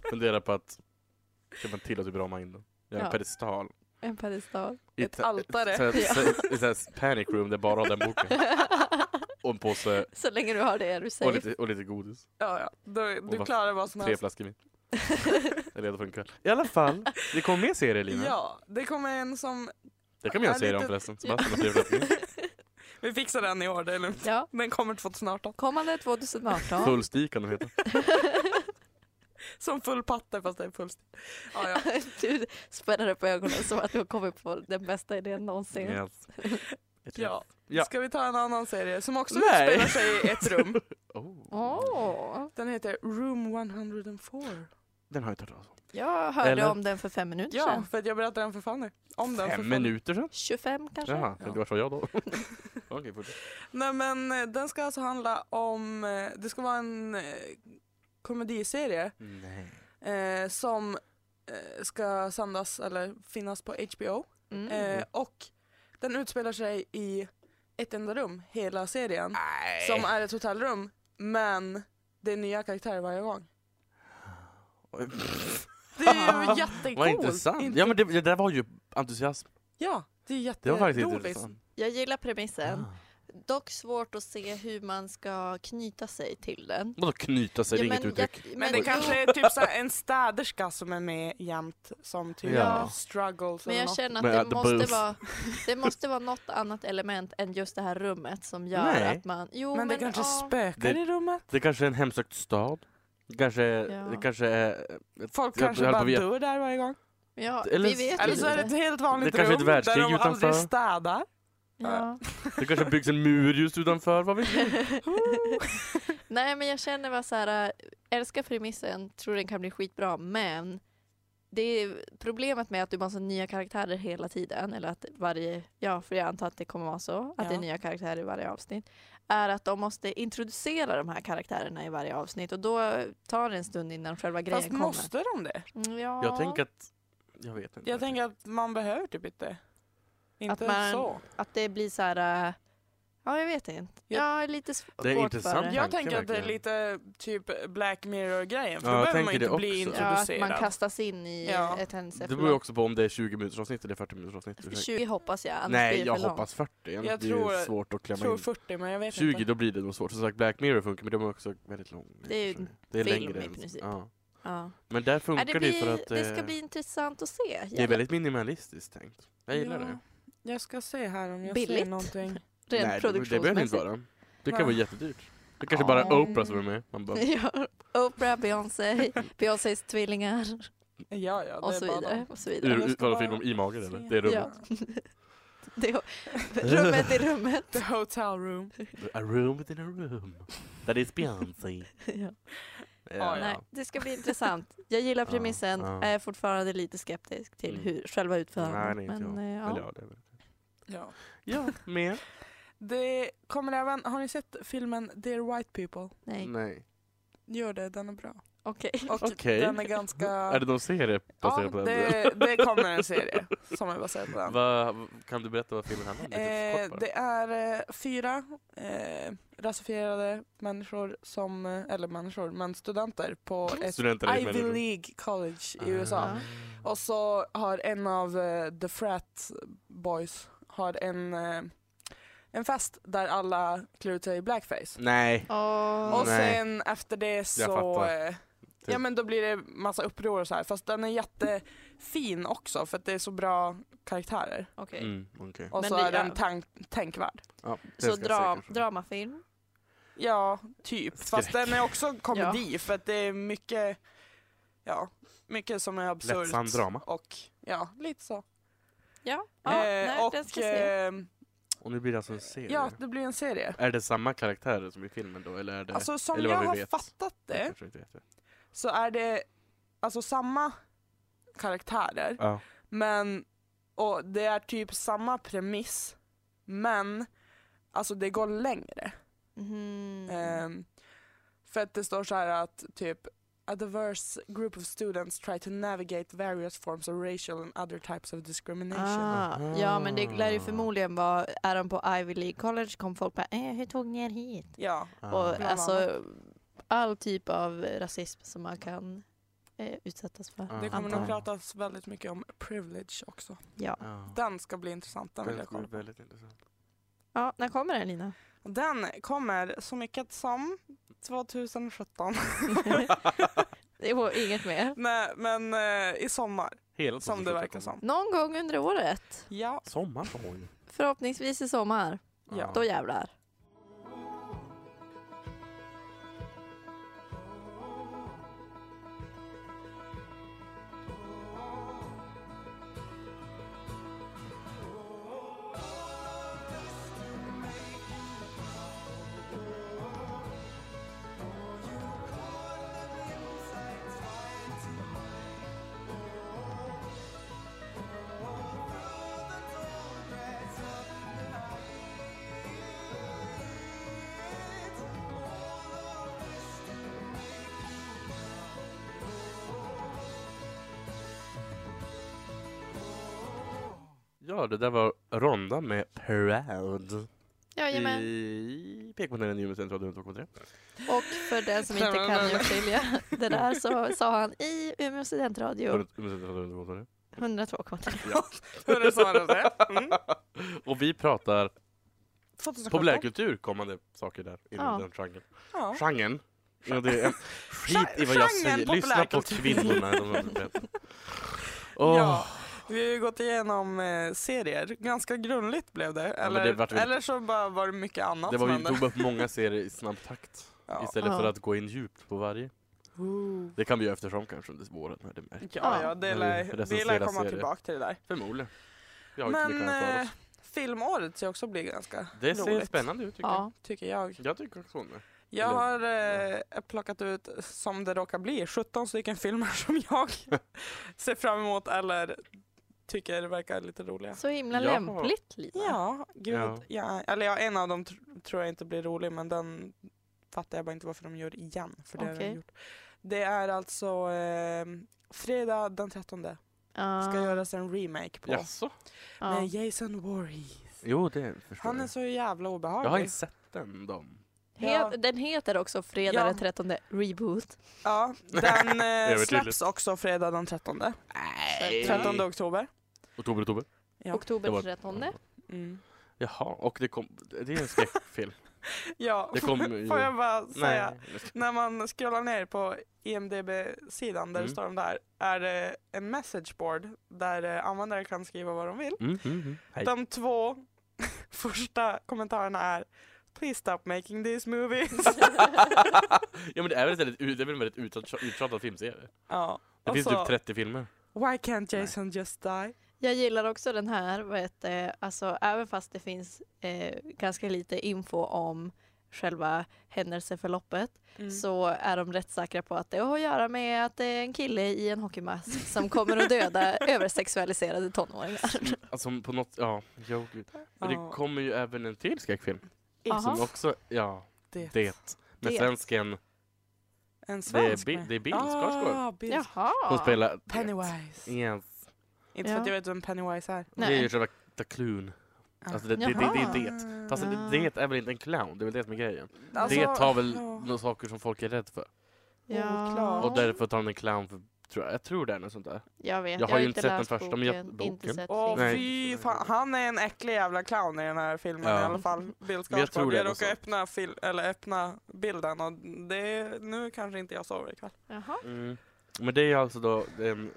[SPEAKER 2] Fundera på att kan man till och typ rama in den. Jag har en
[SPEAKER 3] Ja.
[SPEAKER 2] pedestal.
[SPEAKER 3] En pedestal.
[SPEAKER 2] I
[SPEAKER 4] Ett
[SPEAKER 2] ta-
[SPEAKER 4] altare.
[SPEAKER 2] så-
[SPEAKER 3] Ja.
[SPEAKER 2] så- I såhär panic room där bara har den
[SPEAKER 3] [laughs]
[SPEAKER 2] boken. Och en påse
[SPEAKER 3] Så länge du har det är du
[SPEAKER 2] och
[SPEAKER 3] safe.
[SPEAKER 2] lite, och lite godis.
[SPEAKER 4] [laughs] Ja, ja. Du,
[SPEAKER 2] Och
[SPEAKER 4] du
[SPEAKER 2] vad-
[SPEAKER 4] klarar vad som
[SPEAKER 2] Tre
[SPEAKER 4] helst.
[SPEAKER 2] flaskor vin. Jag är redo för en kväll. I alla fall, det kommer mer serier Lina.
[SPEAKER 4] [laughs] Ja, det kommer en som...
[SPEAKER 2] Det kan vi göra en
[SPEAKER 4] Ja,
[SPEAKER 2] serie om
[SPEAKER 4] lite-
[SPEAKER 2] förresten. Sebastian och tre flaskor vin.
[SPEAKER 4] Vi fixar den i år, det är lugnt.
[SPEAKER 3] [laughs] Ja.
[SPEAKER 4] Den kommer 2018.
[SPEAKER 3] Kommande
[SPEAKER 2] [laughs]
[SPEAKER 3] 2018.
[SPEAKER 2] Full stig kan den
[SPEAKER 4] [laughs]
[SPEAKER 2] heta.
[SPEAKER 4] Som full patte fast det är full stil. Ja, ja.
[SPEAKER 3] du spänner upp ögonen som att du har kommit på den bästa idén någonsin.
[SPEAKER 2] Yes. Jag tror-
[SPEAKER 4] Ja.
[SPEAKER 2] Ja.
[SPEAKER 4] Ska vi ta en annan serie som också
[SPEAKER 2] Nej.
[SPEAKER 4] utspelar sig i ett
[SPEAKER 2] [laughs]
[SPEAKER 4] rum?
[SPEAKER 2] Oh.
[SPEAKER 3] Åh,
[SPEAKER 4] Den heter Room 104.
[SPEAKER 2] Den har jag inte hört talas om.
[SPEAKER 3] jag hörde
[SPEAKER 2] Eller?
[SPEAKER 3] om den för fem minuter
[SPEAKER 4] Ja,
[SPEAKER 3] sedan.
[SPEAKER 4] för att jag berättade den för Fanny. Om den för
[SPEAKER 2] Fem
[SPEAKER 4] Fanny.
[SPEAKER 2] minuter sedan?
[SPEAKER 3] 25 kanske?
[SPEAKER 2] Jaha, tänkte
[SPEAKER 4] Ja.
[SPEAKER 2] vart var jag
[SPEAKER 4] [laughs]
[SPEAKER 2] då? Okej, fortsätt.
[SPEAKER 4] Nej men eh, den ska alltså handla om, eh, det ska vara en eh, komediserie
[SPEAKER 2] Nej.
[SPEAKER 4] eh, som eh, ska sändas eller finnas på HBO.
[SPEAKER 3] Mm. [laughs]
[SPEAKER 4] Eh, och den utspelar sig i ett enda rum, hela serien. Som är ett hotellrum, men det är nya karaktärer varje gång. Det är ju jättecoolt!
[SPEAKER 2] Vad intressant.
[SPEAKER 4] Inte-
[SPEAKER 2] Ja men det, det där var ju entusiasm.
[SPEAKER 4] ja, det är
[SPEAKER 2] Det var faktiskt
[SPEAKER 4] jätteroligt.
[SPEAKER 2] intressant.
[SPEAKER 3] Jag gillar premissen.
[SPEAKER 2] Ah.
[SPEAKER 3] Dock svårt att se hur man ska knyta sig till den.
[SPEAKER 2] Vadå knyta sig? det är inget uttryck.
[SPEAKER 4] Men det kanske är typ så här en städerska som är med jämt som typ
[SPEAKER 2] Ja.
[SPEAKER 4] struggles
[SPEAKER 3] Men
[SPEAKER 4] eller
[SPEAKER 3] jag
[SPEAKER 4] något.
[SPEAKER 3] känner
[SPEAKER 2] Men,
[SPEAKER 3] att
[SPEAKER 2] uh, the
[SPEAKER 3] det måste,
[SPEAKER 2] booth. [laughs]
[SPEAKER 3] vara, det måste vara något annat element än just det här rummet som gör
[SPEAKER 2] Nej.
[SPEAKER 3] att man... Jo,
[SPEAKER 4] Men
[SPEAKER 3] men,
[SPEAKER 4] det kanske
[SPEAKER 3] ja.
[SPEAKER 4] spökar
[SPEAKER 2] Det-
[SPEAKER 4] i rummet.
[SPEAKER 2] Det kanske är en hemsökt stad. Det kanske,
[SPEAKER 3] Ja.
[SPEAKER 2] det kanske är...
[SPEAKER 4] Folk
[SPEAKER 2] Jag-
[SPEAKER 4] kanske
[SPEAKER 2] jag höll på
[SPEAKER 4] bara
[SPEAKER 2] att veta.
[SPEAKER 4] dör där varje gång.
[SPEAKER 3] Ja,
[SPEAKER 2] eller-
[SPEAKER 3] vi vet
[SPEAKER 4] Eller så
[SPEAKER 3] ju
[SPEAKER 4] är det ett
[SPEAKER 3] inte.
[SPEAKER 4] helt vanligt
[SPEAKER 2] Det kanske är ett
[SPEAKER 4] rum där
[SPEAKER 2] världskrig
[SPEAKER 4] de aldrig
[SPEAKER 2] utanför.
[SPEAKER 4] städar.
[SPEAKER 3] Ja.
[SPEAKER 2] Det kanske byggs en mur just utanför, vad vet jag?
[SPEAKER 3] [laughs] Nej, men jag känner bara så här, äh, älskar premissen, tror den kan bli skitbra, men det är problemet med att du måste ha nya karaktärer hela tiden, eller att varje, ja för jag antar att det kommer vara så, att det är
[SPEAKER 4] Ja.
[SPEAKER 3] nya karaktärer i varje avsnitt, är att de måste introducera de här karaktärerna i varje avsnitt och då tar det en stund innan själva grejen
[SPEAKER 4] Fast
[SPEAKER 3] kommer.
[SPEAKER 4] måste de det?
[SPEAKER 3] Mm, Ja.
[SPEAKER 2] Jag tänker att... Jag vet inte.
[SPEAKER 4] Jag tänker att man behöver typ inte. Inte
[SPEAKER 3] man-
[SPEAKER 4] så.
[SPEAKER 3] Att det blir så här... äh, Ja, jag vet inte.
[SPEAKER 4] Ja.
[SPEAKER 3] Ja, lite sv- svårt
[SPEAKER 2] Det är
[SPEAKER 3] för
[SPEAKER 2] intressant.
[SPEAKER 3] det.
[SPEAKER 2] Ja,
[SPEAKER 3] Ja,
[SPEAKER 4] Jag tänker att det är
[SPEAKER 2] verkligen.
[SPEAKER 4] lite typ Black Mirror-grejen, för
[SPEAKER 2] Ja,
[SPEAKER 4] då
[SPEAKER 2] jag
[SPEAKER 4] behöver man
[SPEAKER 2] tänker
[SPEAKER 4] ju inte
[SPEAKER 2] det
[SPEAKER 4] bli
[SPEAKER 2] också.
[SPEAKER 3] att
[SPEAKER 4] introducerad.
[SPEAKER 3] man kastas in i
[SPEAKER 4] Ja.
[SPEAKER 3] ett händelse.
[SPEAKER 2] Det beror ju också på om det är 20 minuters avsnitt eller 40 minuters avsnitt. Ursäkta.
[SPEAKER 3] 20 hoppas jag, annars blir
[SPEAKER 2] Nej,
[SPEAKER 3] det
[SPEAKER 2] jag
[SPEAKER 3] för långt.
[SPEAKER 2] hoppas 40. Jag
[SPEAKER 4] Jag
[SPEAKER 2] det
[SPEAKER 4] tror-
[SPEAKER 2] är svårt att
[SPEAKER 4] jag
[SPEAKER 2] klämma
[SPEAKER 4] tror
[SPEAKER 2] in.
[SPEAKER 4] 40 men jag vet
[SPEAKER 2] 20,
[SPEAKER 4] inte.
[SPEAKER 2] då blir det nog svårt. Som sagt, Black Mirror funkar, men de är också väldigt långa.
[SPEAKER 3] Det är ju
[SPEAKER 2] tror jag. det är
[SPEAKER 3] film
[SPEAKER 2] längre
[SPEAKER 3] i
[SPEAKER 2] än-
[SPEAKER 3] princip.
[SPEAKER 2] Ja.
[SPEAKER 3] Ja.
[SPEAKER 2] Men där
[SPEAKER 3] Nej,
[SPEAKER 2] funkar
[SPEAKER 3] det,
[SPEAKER 2] det,
[SPEAKER 3] blir,
[SPEAKER 2] ju för att
[SPEAKER 3] det ska
[SPEAKER 2] eh,
[SPEAKER 3] bli intressant att se.
[SPEAKER 2] det är
[SPEAKER 3] Jävla-
[SPEAKER 2] väldigt minimalistiskt tänkt. Jag gillar det.
[SPEAKER 4] Jag ska se här om jag
[SPEAKER 3] Billigt.
[SPEAKER 4] ser någonting.
[SPEAKER 3] Rent
[SPEAKER 2] Nej, det, det behöver
[SPEAKER 3] produktionsmässigt.
[SPEAKER 2] inte vara. Det kan vara jättedyrt. Det kanske
[SPEAKER 3] Ja.
[SPEAKER 2] bara Oprah som är med. Man bara,
[SPEAKER 3] [laughs] Ja,
[SPEAKER 2] [laughs]
[SPEAKER 3] Oprah, Beyoncé, Beyoncés tvillingar
[SPEAKER 4] Ja, ja, det
[SPEAKER 3] och så
[SPEAKER 4] är bara
[SPEAKER 3] vidare.
[SPEAKER 4] dem.
[SPEAKER 3] Och så vidare.
[SPEAKER 2] Ur,
[SPEAKER 4] Jag
[SPEAKER 2] ur,
[SPEAKER 4] ska
[SPEAKER 2] vadå,
[SPEAKER 4] bara
[SPEAKER 2] film om i magen eller?
[SPEAKER 4] se.
[SPEAKER 2] Det är rummet.
[SPEAKER 3] Det, rummet i rummet. [laughs]
[SPEAKER 4] The Hotel Room.
[SPEAKER 2] A room within a room. That is Beyoncé.
[SPEAKER 3] Ja.
[SPEAKER 4] Ja, ja.
[SPEAKER 3] Nej, det ska bli intressant. Jag gillar
[SPEAKER 2] Ja,
[SPEAKER 3] premissen,
[SPEAKER 2] ja.
[SPEAKER 3] är fortfarande lite skeptisk till
[SPEAKER 2] Mm.
[SPEAKER 3] hur själva
[SPEAKER 2] Nej,
[SPEAKER 3] utförandet.
[SPEAKER 2] det är inte
[SPEAKER 3] men, eh,
[SPEAKER 2] Eller
[SPEAKER 3] ja.
[SPEAKER 2] ja, det är väl.
[SPEAKER 4] Ja.
[SPEAKER 2] Ja, [laughs] mer?
[SPEAKER 4] Det kommer även, har ni sett filmen Dear White People?
[SPEAKER 3] Nej,
[SPEAKER 2] Nej.
[SPEAKER 4] Gör det, den är bra.
[SPEAKER 3] okej.
[SPEAKER 2] Mm.
[SPEAKER 4] Och
[SPEAKER 2] Okej.
[SPEAKER 4] den är ganska...
[SPEAKER 2] Är det någon serie baserad
[SPEAKER 4] ja,
[SPEAKER 2] på den?
[SPEAKER 4] det, det kommer en serie som är baserad på
[SPEAKER 2] [laughs]
[SPEAKER 4] den.
[SPEAKER 2] Va, kan du berätta vad filmen handlar om? Lite
[SPEAKER 4] Eh,
[SPEAKER 2] kort bara.
[SPEAKER 4] det är eh, fyra eh, rasifierade människor som, eh, eller människor, men studenter på ett
[SPEAKER 2] Studenter är
[SPEAKER 4] Ivy
[SPEAKER 2] människor.
[SPEAKER 4] League college i
[SPEAKER 2] Ah.
[SPEAKER 4] USA. Och så har en av eh, the frat boys har en, eh, en fest där alla klär ut sig i blackface.
[SPEAKER 2] Nej.
[SPEAKER 3] [laughs] Åh,
[SPEAKER 4] Och
[SPEAKER 2] Mm. Nej.
[SPEAKER 4] sen efter det så...
[SPEAKER 2] fattar. Typ.
[SPEAKER 4] eh, Ja men då blir det massa uppror och så här. fast den är jättefin också för att det är så bra karaktärer.
[SPEAKER 3] okej.
[SPEAKER 2] Mm, okej.
[SPEAKER 4] Och
[SPEAKER 3] Men
[SPEAKER 4] så
[SPEAKER 3] det-
[SPEAKER 4] är den tank, tänkvärd.
[SPEAKER 2] Ja, det ska
[SPEAKER 3] Så
[SPEAKER 2] jag
[SPEAKER 3] dra,
[SPEAKER 2] se kanske.
[SPEAKER 3] dramafilm.
[SPEAKER 4] Ja, typ. Fast
[SPEAKER 2] Skräck.
[SPEAKER 4] den är också komedi för att det är mycket, ja, mycket som är absurt.
[SPEAKER 2] Lättsam drama.
[SPEAKER 4] Och ja, lite så.
[SPEAKER 3] Ja, ja
[SPEAKER 4] Eh,
[SPEAKER 3] nej,
[SPEAKER 4] och
[SPEAKER 3] den ska jag se.
[SPEAKER 4] eh,
[SPEAKER 2] Och nu blir det alltså en serie.
[SPEAKER 4] ja, det blir en serie.
[SPEAKER 2] Är det samma karaktärer som i filmen då? Eller är det...
[SPEAKER 4] Alltså som
[SPEAKER 2] eller vad
[SPEAKER 4] jag
[SPEAKER 2] vi
[SPEAKER 4] har
[SPEAKER 2] vet.
[SPEAKER 4] fattat
[SPEAKER 2] Jag
[SPEAKER 4] det
[SPEAKER 2] kanske inte vet det.
[SPEAKER 4] så är det alltså samma karaktärer
[SPEAKER 2] Ja.
[SPEAKER 4] men och det är typ samma premiss men alltså det går längre.
[SPEAKER 3] Mhm.
[SPEAKER 2] eh,
[SPEAKER 4] Ehm, för att det står så här att typ A diverse group of students try to navigate various forms of racial and other types of discrimination.
[SPEAKER 3] Ah, ja men det lär ju förmodligen vara, är de på Ivy League College kom folk bara eh, hur tog ni er hit?
[SPEAKER 4] Ja,
[SPEAKER 2] Ah.
[SPEAKER 4] eh,
[SPEAKER 3] Och
[SPEAKER 4] Bland
[SPEAKER 3] alltså all typ av rasism som man kan eh, utsättas för.
[SPEAKER 2] Ja.
[SPEAKER 4] Det kommer nog
[SPEAKER 3] antar jag.
[SPEAKER 4] pratas väldigt mycket om privilege också.
[SPEAKER 3] Ja.
[SPEAKER 2] Ja.
[SPEAKER 4] Den ska bli intressant, den vill
[SPEAKER 2] Den
[SPEAKER 4] jag
[SPEAKER 2] ska
[SPEAKER 4] kolla
[SPEAKER 2] bli
[SPEAKER 4] på.
[SPEAKER 2] Ah. väldigt intressant.
[SPEAKER 3] ja, när kommer den Lina?
[SPEAKER 4] Den kommer så mycket som 2017.
[SPEAKER 3] det var inget mer.
[SPEAKER 4] [laughs] Nej, men eh, i sommar,
[SPEAKER 2] Hela
[SPEAKER 4] som det
[SPEAKER 2] 2017.
[SPEAKER 4] verkar som.
[SPEAKER 3] Någon gång under året.
[SPEAKER 4] Ja,
[SPEAKER 2] Sommar på hon.
[SPEAKER 3] Förhoppningsvis i sommar.
[SPEAKER 2] Ah.
[SPEAKER 4] Ja.
[SPEAKER 3] Då jävlar.
[SPEAKER 2] Ja, det där var Ronda med Proud.
[SPEAKER 3] Jajamän.
[SPEAKER 2] I Pekmodellen Umeå Central 102,3.
[SPEAKER 3] Och för den som inte kan urskilja det där så sa han i Umeå studentradio
[SPEAKER 2] Umeå Central 102,3.
[SPEAKER 3] 102,3.
[SPEAKER 4] hur det svarar det? Mm.
[SPEAKER 2] Och vi pratar
[SPEAKER 4] 2017.
[SPEAKER 2] populärkultur kommande saker där inom
[SPEAKER 3] Ja.
[SPEAKER 2] den genren.
[SPEAKER 4] Ja.
[SPEAKER 2] Genren. Ja, det är en, skit i vad jag
[SPEAKER 4] Genren
[SPEAKER 2] säger. Lyssna på
[SPEAKER 4] populärkultur.
[SPEAKER 2] kvinnorna. De är
[SPEAKER 4] [laughs]
[SPEAKER 2] bättre. Åh,
[SPEAKER 4] ja, vi har ju gått igenom eh, serier. Ganska grundligt blev det.
[SPEAKER 2] men
[SPEAKER 4] Eller,
[SPEAKER 2] det vart väl-
[SPEAKER 4] eller så bara var det mycket annat
[SPEAKER 2] det var vi
[SPEAKER 4] som hände.
[SPEAKER 2] tog upp många serier i snabb takt.
[SPEAKER 4] Ja.
[SPEAKER 2] Istället
[SPEAKER 3] Ja.
[SPEAKER 2] för att gå in djupt på varje.
[SPEAKER 4] Ooh.
[SPEAKER 2] Det kan vi göra eftersom kanske under våren. När det märks.
[SPEAKER 4] Ja, ja,
[SPEAKER 2] Ja,
[SPEAKER 4] det
[SPEAKER 2] vi
[SPEAKER 4] lär, vi lär
[SPEAKER 2] recenserar
[SPEAKER 4] komma
[SPEAKER 2] serier.
[SPEAKER 4] tillbaka till det där.
[SPEAKER 2] Förmodligen. Vi har ju inte
[SPEAKER 4] Men
[SPEAKER 2] mycket annat för
[SPEAKER 4] eh,
[SPEAKER 2] oss.
[SPEAKER 4] filmåret ser också bli ganska
[SPEAKER 2] Det ser
[SPEAKER 4] roligt.
[SPEAKER 2] spännande ut tycker
[SPEAKER 3] Ja.
[SPEAKER 4] Tycker jag.
[SPEAKER 2] jag. Jag tycker också om det.
[SPEAKER 4] Jag
[SPEAKER 2] Eller-
[SPEAKER 4] har eh, plockat ut, som det råkar bli, 17 stycken filmer [laughs] som
[SPEAKER 2] [laughs]
[SPEAKER 4] jag ser fram emot eller tycker verkar lite roliga.
[SPEAKER 3] Så himla
[SPEAKER 2] Jaha.
[SPEAKER 3] lämpligt Lina.
[SPEAKER 4] Ja, gud.
[SPEAKER 2] Ja.
[SPEAKER 4] Ja. eller ja, en av dem tr- tror jag inte blir rolig, men den fattar jag bara inte varför de gör igen. För det, har de
[SPEAKER 3] Okej.
[SPEAKER 4] gjort. det är alltså eh, fredag den 13
[SPEAKER 3] Ja.
[SPEAKER 4] ska göras en remake på.
[SPEAKER 2] Jaså?
[SPEAKER 3] Ja.
[SPEAKER 4] Med Jason Voorhees.
[SPEAKER 2] Jo, det förstår
[SPEAKER 4] Han är
[SPEAKER 2] jag.
[SPEAKER 4] så jävla obehaglig.
[SPEAKER 2] Jag har inte sett den. Dem.
[SPEAKER 3] Het, Den heter också Fredag
[SPEAKER 4] Ja.
[SPEAKER 3] den 13 Reboot.
[SPEAKER 4] Ja,
[SPEAKER 2] [laughs]
[SPEAKER 4] den eh,
[SPEAKER 2] Övertydligt.
[SPEAKER 4] släpps också fredag den 13.
[SPEAKER 2] Nej.
[SPEAKER 4] 13 oktober.
[SPEAKER 2] Oktober, oktober.
[SPEAKER 4] Ja.
[SPEAKER 3] Oktober
[SPEAKER 2] Det var-
[SPEAKER 3] 13.
[SPEAKER 4] Mm.
[SPEAKER 2] Jaha, och det kom... Det är en
[SPEAKER 4] [laughs]
[SPEAKER 2] skräckfilm.
[SPEAKER 4] Ja,
[SPEAKER 2] Det kommer ju-
[SPEAKER 4] får jag bara säga.
[SPEAKER 2] Nej. jag ska-
[SPEAKER 4] När man scrollar ner på E IMDB-sidan där
[SPEAKER 2] Mm.
[SPEAKER 4] det står de där, är det en message board där eh, användare kan skriva vad de vill.
[SPEAKER 2] Mm, mm, mm. Hej.
[SPEAKER 4] De två [laughs] första kommentarerna är Please stop making
[SPEAKER 2] [laughs]
[SPEAKER 4] these movies.
[SPEAKER 2] [laughs] ja men det är väl en väldigt, ut- det är väl en väldigt uttjat- uttjatad filmserie?
[SPEAKER 4] ja.
[SPEAKER 2] Det
[SPEAKER 4] Och
[SPEAKER 2] finns
[SPEAKER 4] så,
[SPEAKER 2] typ 30
[SPEAKER 4] [laughs]
[SPEAKER 2] filmer.
[SPEAKER 4] Why can't Jason just die?
[SPEAKER 3] Jag gillar också den här, vet, eh, alltså, även fast det finns eh, ganska lite info om själva händelseförloppet
[SPEAKER 4] Mm.
[SPEAKER 3] så är de rätt säkra på att det har att göra med att det är en kille i en hockeymask som kommer att [laughs] döda översexualiserade tonåringar.
[SPEAKER 2] Alltså på något, ja, jo, gud. Men
[SPEAKER 4] Ja.
[SPEAKER 2] det kommer ju även en till skräckfilm. Som
[SPEAKER 3] Aha.
[SPEAKER 2] också, ja,
[SPEAKER 4] Det.
[SPEAKER 2] det. Med
[SPEAKER 3] Det.
[SPEAKER 2] svensken,
[SPEAKER 4] En
[SPEAKER 2] det är,
[SPEAKER 4] svensk
[SPEAKER 2] Bi-
[SPEAKER 4] med.
[SPEAKER 2] det är Bill Skarsgård.
[SPEAKER 4] Ah, Bill.
[SPEAKER 3] Jaha.
[SPEAKER 2] Hon spelar... det.
[SPEAKER 4] Pennywise.
[SPEAKER 2] Yes.
[SPEAKER 4] Inte för att
[SPEAKER 3] Ja.
[SPEAKER 4] jag vet vem Pennywise är.
[SPEAKER 2] Det är ju själva the cluen. Alltså det, det, det,
[SPEAKER 3] Jaha.
[SPEAKER 2] det är det.
[SPEAKER 4] Ah.
[SPEAKER 2] Fast det, det är väl inte en clown, det är väl det som är grejen.
[SPEAKER 4] Alltså,
[SPEAKER 2] det tar väl
[SPEAKER 4] ja.
[SPEAKER 2] några saker som folk är rädda för.
[SPEAKER 3] Ja.
[SPEAKER 2] Och därför tar han en clown för, tror jag, jag tror det är något sånt där.
[SPEAKER 3] Jag vet,
[SPEAKER 2] Jag har ju inte sett den
[SPEAKER 3] läst
[SPEAKER 2] första, men jag-
[SPEAKER 3] boken,
[SPEAKER 2] boken.
[SPEAKER 3] Inte sett
[SPEAKER 4] Åh
[SPEAKER 2] Nej.
[SPEAKER 3] filmen.
[SPEAKER 4] fy fan, han är en äcklig jävla clown i den här filmen
[SPEAKER 2] Ja.
[SPEAKER 4] i alla fall. Bill
[SPEAKER 2] Men jag tror
[SPEAKER 4] Skarsgård.
[SPEAKER 2] det
[SPEAKER 4] Jag
[SPEAKER 2] var
[SPEAKER 4] råkade
[SPEAKER 2] så.
[SPEAKER 4] öppna, fil- eller öppna bilden och det, nu kanske inte jag sover ikväll.
[SPEAKER 3] Jaha.
[SPEAKER 2] Mm. Men det är alltså då en